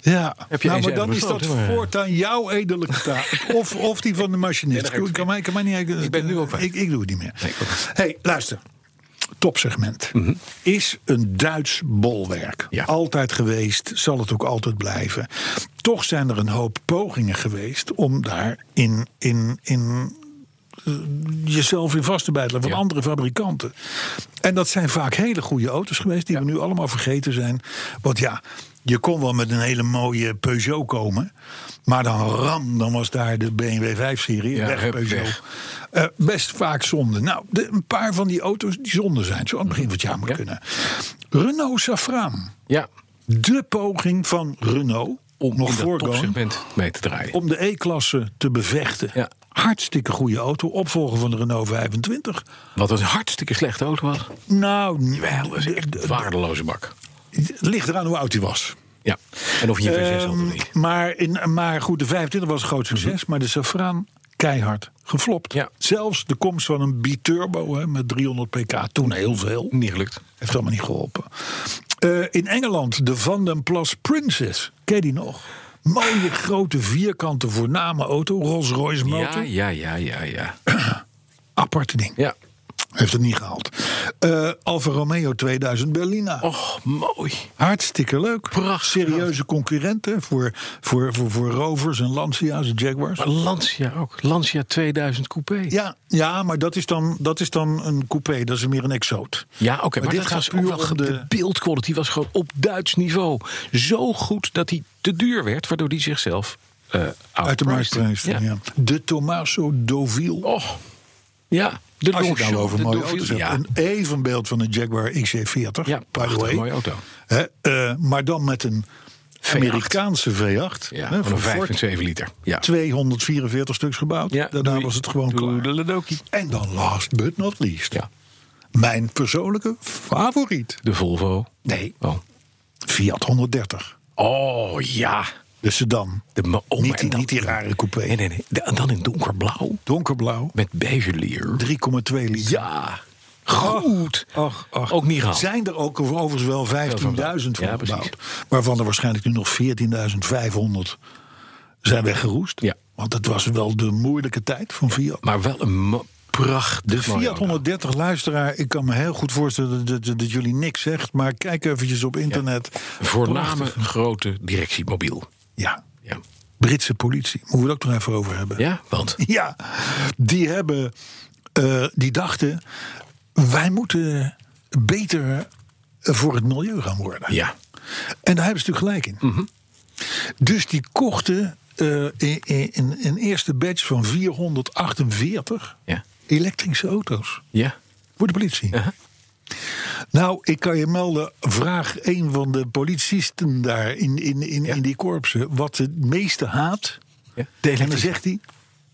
[SPEAKER 2] Ja,
[SPEAKER 3] Heb je
[SPEAKER 2] nou,
[SPEAKER 3] eens
[SPEAKER 2] maar dan
[SPEAKER 3] eerder
[SPEAKER 2] is dat
[SPEAKER 3] besloten, maar-
[SPEAKER 2] voortaan jouw edelijke taak. of, of die van de machinist.
[SPEAKER 3] Ja, dat
[SPEAKER 2] kan, mij, kan mij niet, uit-
[SPEAKER 3] Ik ben nu ook weg.
[SPEAKER 2] Ik, ik doe het niet meer.
[SPEAKER 3] Nee, goed.
[SPEAKER 2] hey, luister. Topsegment. Is een Duits bolwerk.
[SPEAKER 3] Ja.
[SPEAKER 2] Altijd geweest, zal het ook altijd blijven. Toch zijn er een hoop pogingen geweest om daar in, in, in eh, jezelf in vast te bijtelen van
[SPEAKER 3] Ja.
[SPEAKER 2] andere fabrikanten. En dat zijn vaak hele goede auto's geweest die we nu allemaal vergeten zijn. Want ja, je kon wel met een hele mooie Peugeot komen, maar dan ram, dan was daar de BMW 5-serie
[SPEAKER 3] Ja,
[SPEAKER 2] weg
[SPEAKER 3] hup,
[SPEAKER 2] Peugeot.
[SPEAKER 3] weg.
[SPEAKER 2] Eh, best vaak zonde. Nou, de- een paar van die auto's die zonde zijn, zo aan het begin van het jaar moet
[SPEAKER 3] Ja.
[SPEAKER 2] kunnen. Renault Safraan,
[SPEAKER 3] Ja.
[SPEAKER 2] de poging van Renault
[SPEAKER 3] Om
[SPEAKER 2] nog
[SPEAKER 3] in dat
[SPEAKER 2] voor Goan,
[SPEAKER 3] topsegment mee te draaien.
[SPEAKER 2] om de E-klasse te bevechten.
[SPEAKER 3] Ja.
[SPEAKER 2] Hartstikke goede auto, opvolger van de Renault 25.
[SPEAKER 3] Wat een hartstikke slechte auto was.
[SPEAKER 2] Nou,
[SPEAKER 3] Wel, dat is echt een waardeloze bak.
[SPEAKER 2] het ligt eraan hoe oud hij was.
[SPEAKER 3] Ja. En of je een V6 had
[SPEAKER 2] Ehm,
[SPEAKER 3] of niet.
[SPEAKER 2] maar, in, maar goed, de 25 was een groot succes. Maar de Safraan keihard geflopt.
[SPEAKER 3] Ja.
[SPEAKER 2] Zelfs de komst van een biturbo hè, met 300 pk, toen heel veel.
[SPEAKER 3] Niet gelukt.
[SPEAKER 2] Heeft allemaal niet geholpen. Eh, in Engeland de Van den Plas Princess. Ken je die nog? Mooie, grote, vierkante, voorname auto. Rolls-Royce
[SPEAKER 3] Ja,
[SPEAKER 2] motor.
[SPEAKER 3] ja, ja, ja, ja.
[SPEAKER 2] Aparte ding.
[SPEAKER 3] Ja.
[SPEAKER 2] Heeft het niet gehaald. Eh, Alfa Romeo 2000 Berlina.
[SPEAKER 3] Och, mooi.
[SPEAKER 2] Hartstikke leuk.
[SPEAKER 3] Prachtig.
[SPEAKER 2] Serieuze concurrenten voor, voor, voor, voor Rovers en Lancia's en Jaguars.
[SPEAKER 3] Maar Lancia ook. Lancia 2000 coupé.
[SPEAKER 2] Ja, ja maar dat is, dan, dat is dan een coupé. Dat is meer een exoot.
[SPEAKER 3] Ja, oké, maar,
[SPEAKER 2] dit
[SPEAKER 3] dit
[SPEAKER 2] gaat
[SPEAKER 3] was
[SPEAKER 2] puur
[SPEAKER 3] ook wel
[SPEAKER 2] om
[SPEAKER 3] ge- de...
[SPEAKER 2] de-
[SPEAKER 3] beeldkwaliteit was gewoon op Duits niveau zo goed dat hij te duur werd, waardoor hij zichzelf eh
[SPEAKER 2] Uit de markt
[SPEAKER 3] outpriced.
[SPEAKER 2] prijs. Ja. De Tommaso Deauville.
[SPEAKER 3] Och, ja, de
[SPEAKER 2] Als je het nou
[SPEAKER 3] Longchamp,
[SPEAKER 2] over
[SPEAKER 3] Oh, de
[SPEAKER 2] mooie
[SPEAKER 3] Deauville,
[SPEAKER 2] auto's hebt.
[SPEAKER 3] ja.
[SPEAKER 2] Een evenbeeld van een Jaguar XC40.
[SPEAKER 3] Ja,
[SPEAKER 2] by the
[SPEAKER 3] prachtig,
[SPEAKER 2] way.
[SPEAKER 3] mooie auto.
[SPEAKER 2] Hè, eh, maar dan met een Amerikaanse V8.
[SPEAKER 3] Ja,
[SPEAKER 2] hè,
[SPEAKER 3] van
[SPEAKER 2] van
[SPEAKER 3] een
[SPEAKER 2] Ford.
[SPEAKER 3] 5,7 liter. Ja.
[SPEAKER 2] 244 stuks gebouwd.
[SPEAKER 3] Ja,
[SPEAKER 2] Daarna
[SPEAKER 3] doei.
[SPEAKER 2] was het gewoon klaar.
[SPEAKER 3] Toedeledokie.
[SPEAKER 2] En dan last but not least.
[SPEAKER 3] Ja.
[SPEAKER 2] Mijn persoonlijke favoriet.
[SPEAKER 3] De Volvo.
[SPEAKER 2] Nee.
[SPEAKER 3] Oh,
[SPEAKER 2] Fiat 130.
[SPEAKER 3] oh ja.
[SPEAKER 2] De sedan.
[SPEAKER 3] De, ma- oh,
[SPEAKER 2] niet,
[SPEAKER 3] maar en
[SPEAKER 2] die,
[SPEAKER 3] dan-
[SPEAKER 2] niet die rare coupé.
[SPEAKER 3] Nee, nee, nee. De- en dan in donkerblauw.
[SPEAKER 2] Donkerblauw.
[SPEAKER 3] Met beige leer.
[SPEAKER 2] 3,2 liter.
[SPEAKER 3] Ja. Goed. Ook niet gehaald.
[SPEAKER 2] Zijn er ook overigens wel 15.000 van
[SPEAKER 3] Ja, precies.
[SPEAKER 2] gebouwd. Waarvan er waarschijnlijk nu nog 14.500 zijn weggeroest.
[SPEAKER 3] Ja.
[SPEAKER 2] Want het was wel de moeilijke tijd van Fiat.
[SPEAKER 3] Maar wel een mo- prachtig
[SPEAKER 2] De
[SPEAKER 3] mooi
[SPEAKER 2] Fiat
[SPEAKER 3] auto.
[SPEAKER 2] 130 luisteraar, ik kan me heel goed voorstellen dat, dat, dat jullie niks zegt. Maar kijk eventjes op internet.
[SPEAKER 3] Voorname
[SPEAKER 2] Prachtig.
[SPEAKER 3] grote directiemobiel.
[SPEAKER 2] Ja,
[SPEAKER 3] Ja.
[SPEAKER 2] Britse politie. Moeten we het ook nog even over hebben.
[SPEAKER 3] ja, want
[SPEAKER 2] Ja, die hebben, eh, die dachten, wij moeten beter voor het milieu gaan worden.
[SPEAKER 3] ja, Mhm.
[SPEAKER 2] En daar hebben ze natuurlijk gelijk in. Dus die kochten eh, in, in- in- een eerste batch van 448
[SPEAKER 3] Ja.
[SPEAKER 2] elektrische auto's
[SPEAKER 3] ja.
[SPEAKER 2] voor de politie.
[SPEAKER 3] Aha.
[SPEAKER 2] Nou, ik kan je melden, vraag een van de politiesten daar in, in, in, in die korpsen... wat het meeste haat.
[SPEAKER 3] Ja.
[SPEAKER 2] En dan zegt hij,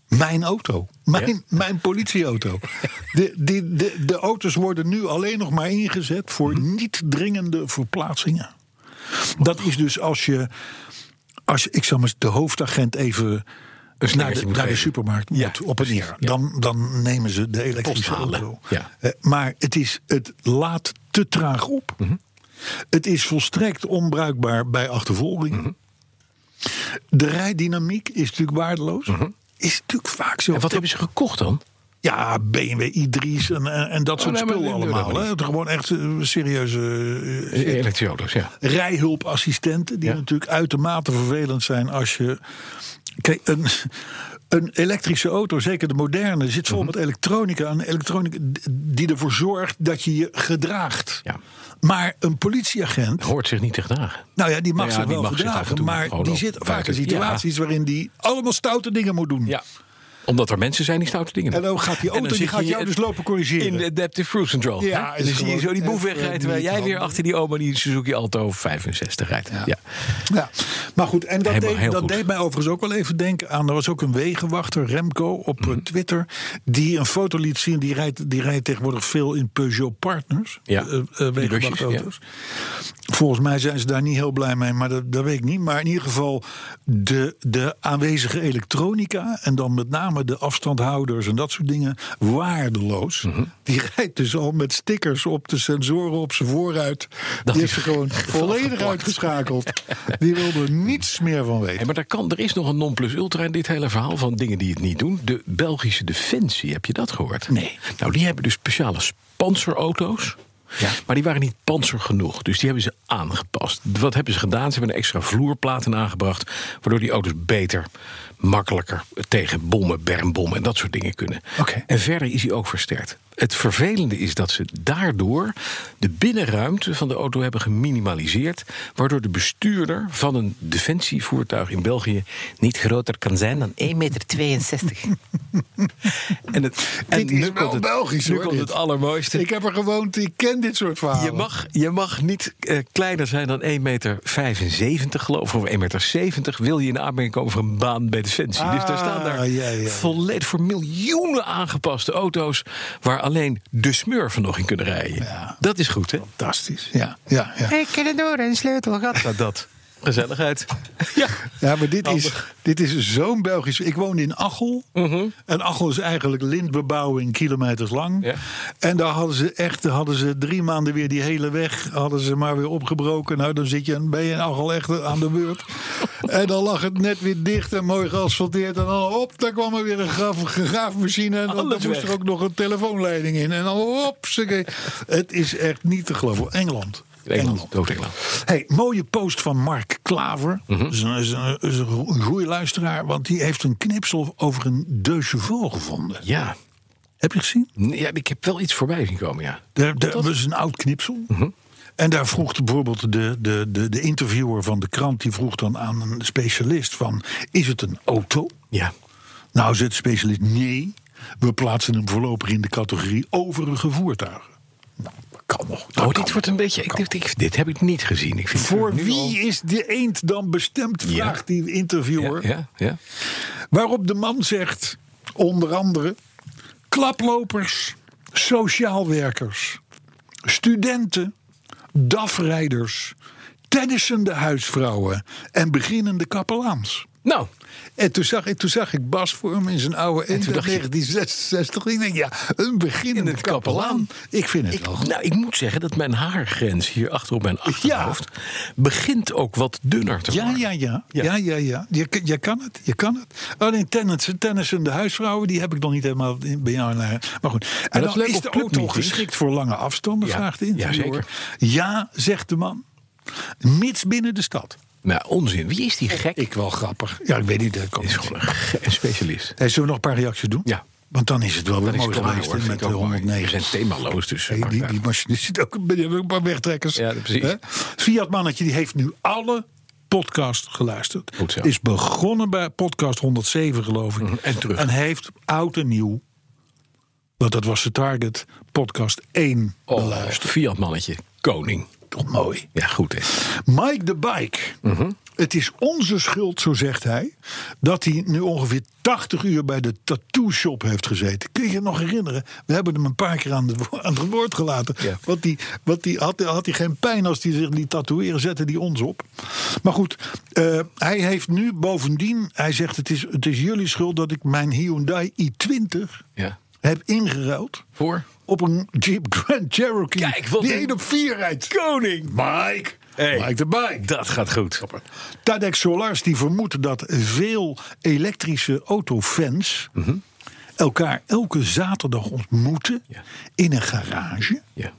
[SPEAKER 2] mijn auto. Mijn,
[SPEAKER 3] Ja.
[SPEAKER 2] mijn politieauto. De, die, de, de auto's worden nu alleen nog maar ingezet voor
[SPEAKER 3] Mhm.
[SPEAKER 2] niet dringende verplaatsingen. Dat is dus als je, als je- ik zal maar de hoofdagent even... Naar
[SPEAKER 3] slingertje
[SPEAKER 2] de,
[SPEAKER 3] moet
[SPEAKER 2] naar de
[SPEAKER 3] geven.
[SPEAKER 2] supermarkt
[SPEAKER 3] Ja,
[SPEAKER 2] moet op en neer.
[SPEAKER 3] ja.
[SPEAKER 2] Dan, dan nemen ze de elektrische
[SPEAKER 3] halen,
[SPEAKER 2] auto.
[SPEAKER 3] ja.
[SPEAKER 2] Eh, maar het, is, het laat te traag op.
[SPEAKER 3] Mhm.
[SPEAKER 2] Het is volstrekt onbruikbaar bij achtervolging.
[SPEAKER 3] Mhm.
[SPEAKER 2] De rijdynamiek is natuurlijk waardeloos. Is natuurlijk vaak zo.
[SPEAKER 3] Mhm. En wat hebben ze gekocht dan?
[SPEAKER 2] Ja, BMW i3's en, en, en dat soort
[SPEAKER 3] Oh, nee, maar
[SPEAKER 2] spullen
[SPEAKER 3] nee, nee,
[SPEAKER 2] allemaal.
[SPEAKER 3] dat
[SPEAKER 2] hè. Het Gewoon echt eh, serieuze eh,
[SPEAKER 3] Eh, Elektrische auto's, ja.
[SPEAKER 2] rijhulpassistenten, die
[SPEAKER 3] Ja.
[SPEAKER 2] natuurlijk uitermate vervelend zijn als je. Kijk, een, een elektrische auto, zeker de moderne, zit
[SPEAKER 3] Mhm.
[SPEAKER 2] vol met elektronica. Een elektronica d- die ervoor zorgt dat je je gedraagt.
[SPEAKER 3] Ja.
[SPEAKER 2] Maar een politieagent,
[SPEAKER 3] Hoort zich niet te gedragen.
[SPEAKER 2] nou ja, die mag
[SPEAKER 3] Nou ja,
[SPEAKER 2] zich
[SPEAKER 3] die
[SPEAKER 2] wel
[SPEAKER 3] mag zich af en
[SPEAKER 2] gedragen.
[SPEAKER 3] toe
[SPEAKER 2] maar
[SPEAKER 3] gewoon
[SPEAKER 2] die
[SPEAKER 3] ook
[SPEAKER 2] zit vaak in
[SPEAKER 3] buiten-
[SPEAKER 2] situaties waarin die allemaal stoute dingen moet doen.
[SPEAKER 3] Ja. Omdat er mensen zijn die stoute dingen
[SPEAKER 2] En dan gaat die auto, die
[SPEAKER 3] zit
[SPEAKER 2] gaat
[SPEAKER 3] je
[SPEAKER 2] jou
[SPEAKER 3] in-
[SPEAKER 2] dus lopen corrigeren.
[SPEAKER 3] In de Adaptive Cruise Control.
[SPEAKER 2] Ja,
[SPEAKER 3] hè?
[SPEAKER 2] is
[SPEAKER 3] en dan zie je
[SPEAKER 2] gewoon
[SPEAKER 3] zo die boef
[SPEAKER 2] echt, eh,
[SPEAKER 3] wegrijden... terwijl
[SPEAKER 2] niet
[SPEAKER 3] jij weer
[SPEAKER 2] handig.
[SPEAKER 3] achter die oma die Suzuki Alto 65 rijdt. Ja.
[SPEAKER 2] Ja, maar goed, en dat,
[SPEAKER 3] Helemaal
[SPEAKER 2] deed,
[SPEAKER 3] heel
[SPEAKER 2] dat
[SPEAKER 3] goed.
[SPEAKER 2] deed mij overigens ook wel even denken aan. Er was ook een wegenwachter, Remco, op eh,
[SPEAKER 3] Mhm.
[SPEAKER 2] Twitter. die een foto liet zien. Die rijdt, die rijdt tegenwoordig veel in Peugeot Partners.
[SPEAKER 3] Ja,
[SPEAKER 2] eh, eh,
[SPEAKER 3] die
[SPEAKER 2] wegenwachtauto's. Volgens mij zijn ze daar niet heel blij mee, maar dat, dat weet ik niet. Maar in ieder geval de, de aanwezige elektronica. en dan met name de afstandhouders en dat soort dingen. waardeloos.
[SPEAKER 3] Mhm.
[SPEAKER 2] Die rijdt dus al met stickers op de sensoren op zijn voorruit. die
[SPEAKER 3] is-
[SPEAKER 2] heeft ze gewoon volledig uitgeschakeld. Die wilde er niets meer van
[SPEAKER 3] Hey,
[SPEAKER 2] weten.
[SPEAKER 3] maar daar kan, er is nog een non-plus ultra in dit hele verhaal van dingen die het niet doen. De Belgische Defensie, heb je dat gehoord?
[SPEAKER 2] Nee.
[SPEAKER 3] Nou, die hebben dus speciale panzerauto's.
[SPEAKER 2] Ja.
[SPEAKER 3] Maar die waren niet panzer genoeg, dus die hebben ze aangepast. Wat hebben ze gedaan? Ze hebben een extra vloerplaten aangebracht... waardoor die auto's beter, makkelijker tegen bommen, bermbommen... en dat soort dingen kunnen.
[SPEAKER 2] Oké.
[SPEAKER 3] En verder is hij ook versterkt. Het vervelende is dat ze daardoor de binnenruimte van de auto hebben geminimaliseerd. Waardoor de bestuurder van een defensievoertuig in België niet groter kan zijn dan 1,62 meter. en het, en
[SPEAKER 2] Dit is
[SPEAKER 3] nu
[SPEAKER 2] wel
[SPEAKER 3] komt het-
[SPEAKER 2] Belgisch,
[SPEAKER 3] Nu
[SPEAKER 2] hoor,
[SPEAKER 3] komt
[SPEAKER 2] dit.
[SPEAKER 3] het allermooiste.
[SPEAKER 2] Ik heb er gewoond, ik ken dit soort verhalen.
[SPEAKER 3] Je mag, je mag niet eh, kleiner zijn dan 1,75 meter, geloof ik, of 1,70 meter. Wil je in aanmerking komen voor een baan bij Defensie. dus daar staan
[SPEAKER 2] Ah,
[SPEAKER 3] daar
[SPEAKER 2] ja, ja.
[SPEAKER 3] volledig voor miljoenen aangepaste auto's... waar alleen de smurfen nog in kunnen rijden. Dat is goed, hè?
[SPEAKER 2] Fantastisch. Ja, ja, ja.
[SPEAKER 3] Ik ken het door, een sleutelgat. Nou, dat. Gezelligheid. Ja.
[SPEAKER 2] Ja, maar dit is,
[SPEAKER 3] Handig. Mhm.
[SPEAKER 2] dit is zo'n Belgisch. Ik woonde in Achel. En Achel is eigenlijk lintbebouwing kilometers lang.
[SPEAKER 3] Ja.
[SPEAKER 2] En daar hadden ze echt daar hadden ze drie maanden weer die hele weg. Hadden ze maar weer opgebroken. Nou, dan zit je, ben je in Achel echt aan de beurt. en dan lag het net weer dicht en mooi geasfalteerd. En dan op, daar kwam er weer een graf, graafmachine. En dan,
[SPEAKER 3] Alles
[SPEAKER 2] dan moest
[SPEAKER 3] weg.
[SPEAKER 2] er ook nog een telefoonleiding in. En dan op, Het is echt niet te geloven. Engeland.
[SPEAKER 3] Engeland, Dood-Engeland.
[SPEAKER 2] Hey, mooie post van Mark Klaver.
[SPEAKER 3] Mhm.
[SPEAKER 2] Dat is een, is een, is een go- goeie luisteraar, want die heeft een knipsel over een deux chevaux gevonden.
[SPEAKER 3] Ja.
[SPEAKER 2] Heb je gezien?
[SPEAKER 3] ja, ik heb wel iets voorbij zien komen, ja.
[SPEAKER 2] Daar- daar- Dat is een oud knipsel.
[SPEAKER 3] Mhm.
[SPEAKER 2] En daar vroeg bijvoorbeeld de, de, de, de interviewer van de krant... die vroeg dan aan een specialist van... is het een auto?
[SPEAKER 3] Ja.
[SPEAKER 2] Nou, zegt de specialist, nee. We plaatsen hem voorlopig in de categorie overige voertuigen. Nou, dat kan nog. Dat
[SPEAKER 3] Oh,
[SPEAKER 2] kan
[SPEAKER 3] dit wordt een beetje... Ik, dacht, ik, dit heb ik niet gezien. Ik vind het
[SPEAKER 2] Voor
[SPEAKER 3] nu al-
[SPEAKER 2] wie is de eend dan bestemd?
[SPEAKER 3] Ja.
[SPEAKER 2] Vraagt die interviewer.
[SPEAKER 3] Ja, ja, ja.
[SPEAKER 2] Waarop de man zegt, onder andere: klaplopers, sociaal werkers, studenten, dafrijders, tennissende huisvrouwen en beginnende kapelaans.
[SPEAKER 3] Nou,
[SPEAKER 2] En toen zag, ik- toen zag ik Bas voor me in zijn oude
[SPEAKER 3] toen
[SPEAKER 2] Eend uit
[SPEAKER 3] dacht je-
[SPEAKER 2] 1966. Ik denk, ja, een beginnende
[SPEAKER 3] het kapelaan.
[SPEAKER 2] kapelaan. Ik vind het wel goed.
[SPEAKER 3] nou, ik moet zeggen dat mijn haargrens hier achter op mijn achterhoofd... begint ook wat dunner te
[SPEAKER 2] Ja,
[SPEAKER 3] worden.
[SPEAKER 2] ja, ja. ja, ja, ja. Je, k- je kan het, je kan het. Alleen tennis, tennissende huisvrouwen, die heb ik nog niet helemaal in- bij jou. naar- Maar goed. En
[SPEAKER 3] dat is
[SPEAKER 2] dan
[SPEAKER 3] leuk
[SPEAKER 2] is
[SPEAKER 3] op
[SPEAKER 2] de auto
[SPEAKER 3] clubmeetings.
[SPEAKER 2] geschikt voor lange afstanden,
[SPEAKER 3] Ja,
[SPEAKER 2] vraagt de interviewer.
[SPEAKER 3] jazeker.
[SPEAKER 2] Ja, zegt de man. Mits binnen de stad.
[SPEAKER 3] Nou, onzin. Wie is die gek?
[SPEAKER 2] Ik wel grappig. Ja, ik weet niet. Dat kan
[SPEAKER 3] is
[SPEAKER 2] niet.
[SPEAKER 3] gewoon een, ge- een specialist.
[SPEAKER 2] Hey, zullen we nog een paar reacties doen?
[SPEAKER 3] Ja.
[SPEAKER 2] Want dan is het wel weer mooi geweest hè, met de 109.
[SPEAKER 3] zijn themaloos, dus...
[SPEAKER 2] Hey, die, die machinist zit ook die hebben ook een paar wegtrekkers.
[SPEAKER 3] Ja, precies.
[SPEAKER 2] Hè? Fiat Mannetje die heeft nu alle podcast geluisterd.
[SPEAKER 3] Goed zo. Mhm,
[SPEAKER 2] Is begonnen bij podcast 107 geloof ik.
[SPEAKER 3] en terug.
[SPEAKER 2] En heeft oud en nieuw, want dat was de target, podcast 1
[SPEAKER 3] Oh,
[SPEAKER 2] beluisterd.
[SPEAKER 3] Fiat mannetje. Koning.
[SPEAKER 2] Toch mooi.
[SPEAKER 3] Ja, goed hè.
[SPEAKER 2] Mike de Bike.
[SPEAKER 3] Mhm.
[SPEAKER 2] Het is onze schuld, zo zegt hij, dat hij nu ongeveer 80 uur bij de tattoo shop heeft gezeten. Kun je je nog herinneren? We hebben hem een paar keer aan, de, wo- aan het woord gelaten.
[SPEAKER 3] Ja.
[SPEAKER 2] Want die, want die had, had hij geen pijn als hij zich liet tatoeëren, zette die ons op. Maar goed, eh, hij heeft nu bovendien, hij zegt het is, het is jullie schuld dat ik mijn Hyundai i20
[SPEAKER 3] Ja.
[SPEAKER 2] heb ingeruild
[SPEAKER 3] Voor?
[SPEAKER 2] op een Jeep Grand Cherokee.
[SPEAKER 3] Kijk, wat
[SPEAKER 2] die
[SPEAKER 3] een-
[SPEAKER 2] één op vier rijdt.
[SPEAKER 3] Koning!
[SPEAKER 2] Mike,
[SPEAKER 3] Hey.
[SPEAKER 2] Mike de Bike.
[SPEAKER 3] Dat gaat goed.
[SPEAKER 2] Tadek Solars die vermoedt dat veel elektrische autofans
[SPEAKER 3] Mhm.
[SPEAKER 2] elkaar elke zaterdag ontmoeten
[SPEAKER 3] Ja.
[SPEAKER 2] in een garage.
[SPEAKER 3] Ja.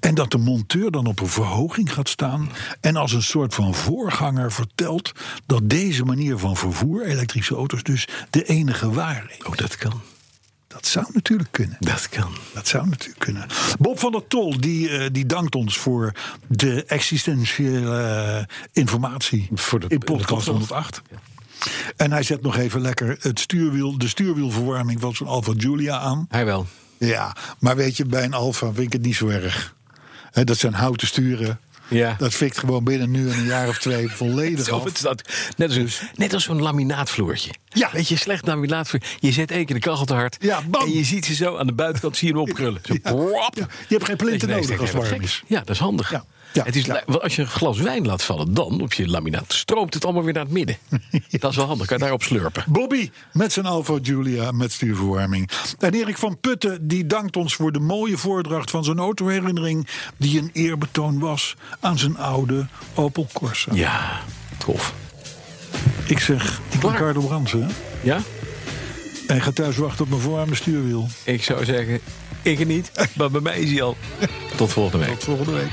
[SPEAKER 2] En dat de monteur dan op een verhoging gaat staan en als een soort van voorganger vertelt dat deze manier van vervoer, elektrische auto's dus, de enige waar is.
[SPEAKER 3] Oh, dat kan.
[SPEAKER 2] Dat zou natuurlijk kunnen.
[SPEAKER 3] Dat kan.
[SPEAKER 2] Dat zou natuurlijk kunnen. Bob van der Tol, die, eh, die dankt ons voor de existentiële eh, informatie
[SPEAKER 3] Voor de-
[SPEAKER 2] in podcast 108. En hij zet nog even lekker het stuurwiel, de stuurwielverwarming van zo'n Alfa Giulia aan.
[SPEAKER 3] Hij wel.
[SPEAKER 2] Ja, maar weet je, bij een Alfa vind ik het niet zo erg. Hè, dat zijn houten sturen.
[SPEAKER 3] Ja.
[SPEAKER 2] Dat fikt gewoon binnen nu en een jaar of twee volledig
[SPEAKER 3] Zo,
[SPEAKER 2] af.
[SPEAKER 3] het staat- net als, een- net als zo'n laminaatvloertje.
[SPEAKER 2] Dus. Ja.
[SPEAKER 3] Weet je, slecht laminaatvloer. Je zet één keer de kachel te hard.
[SPEAKER 2] Ja, bam.
[SPEAKER 3] En je ziet ze zo aan de buitenkant, zie je hem opkrullen. Zo, prop.
[SPEAKER 2] Ja, je hebt geen
[SPEAKER 3] Dat je
[SPEAKER 2] plinten
[SPEAKER 3] ineens
[SPEAKER 2] nodig
[SPEAKER 3] denkt,
[SPEAKER 2] als
[SPEAKER 3] hé,
[SPEAKER 2] het
[SPEAKER 3] wat
[SPEAKER 2] warm
[SPEAKER 3] gek.
[SPEAKER 2] is.
[SPEAKER 3] Ja, dat is handig.
[SPEAKER 2] Ja, ja,
[SPEAKER 3] het is,
[SPEAKER 2] ja.
[SPEAKER 3] li- Als je een glas wijn laat vallen dan op je laminaat, stroomt het allemaal weer naar het midden. Dat is wel handig, kan je daarop slurpen.
[SPEAKER 2] Bobby met zijn Alfa Julia met stuurverwarming. En Erik van Putten die dankt ons voor de mooie voordracht van zijn autoherinnering... die een eerbetoon was aan zijn oude Opel Corsa.
[SPEAKER 3] Ja, tof.
[SPEAKER 2] Ik zeg, ik ben
[SPEAKER 3] Klaar.
[SPEAKER 2] Carlo Bransen.
[SPEAKER 3] Ja?
[SPEAKER 2] En ga thuis wachten op mijn voorarmde stuurwiel.
[SPEAKER 3] Ik zou zeggen, ik niet, maar bij mij is hij al. Tot volgende week.
[SPEAKER 2] Tot volgende week.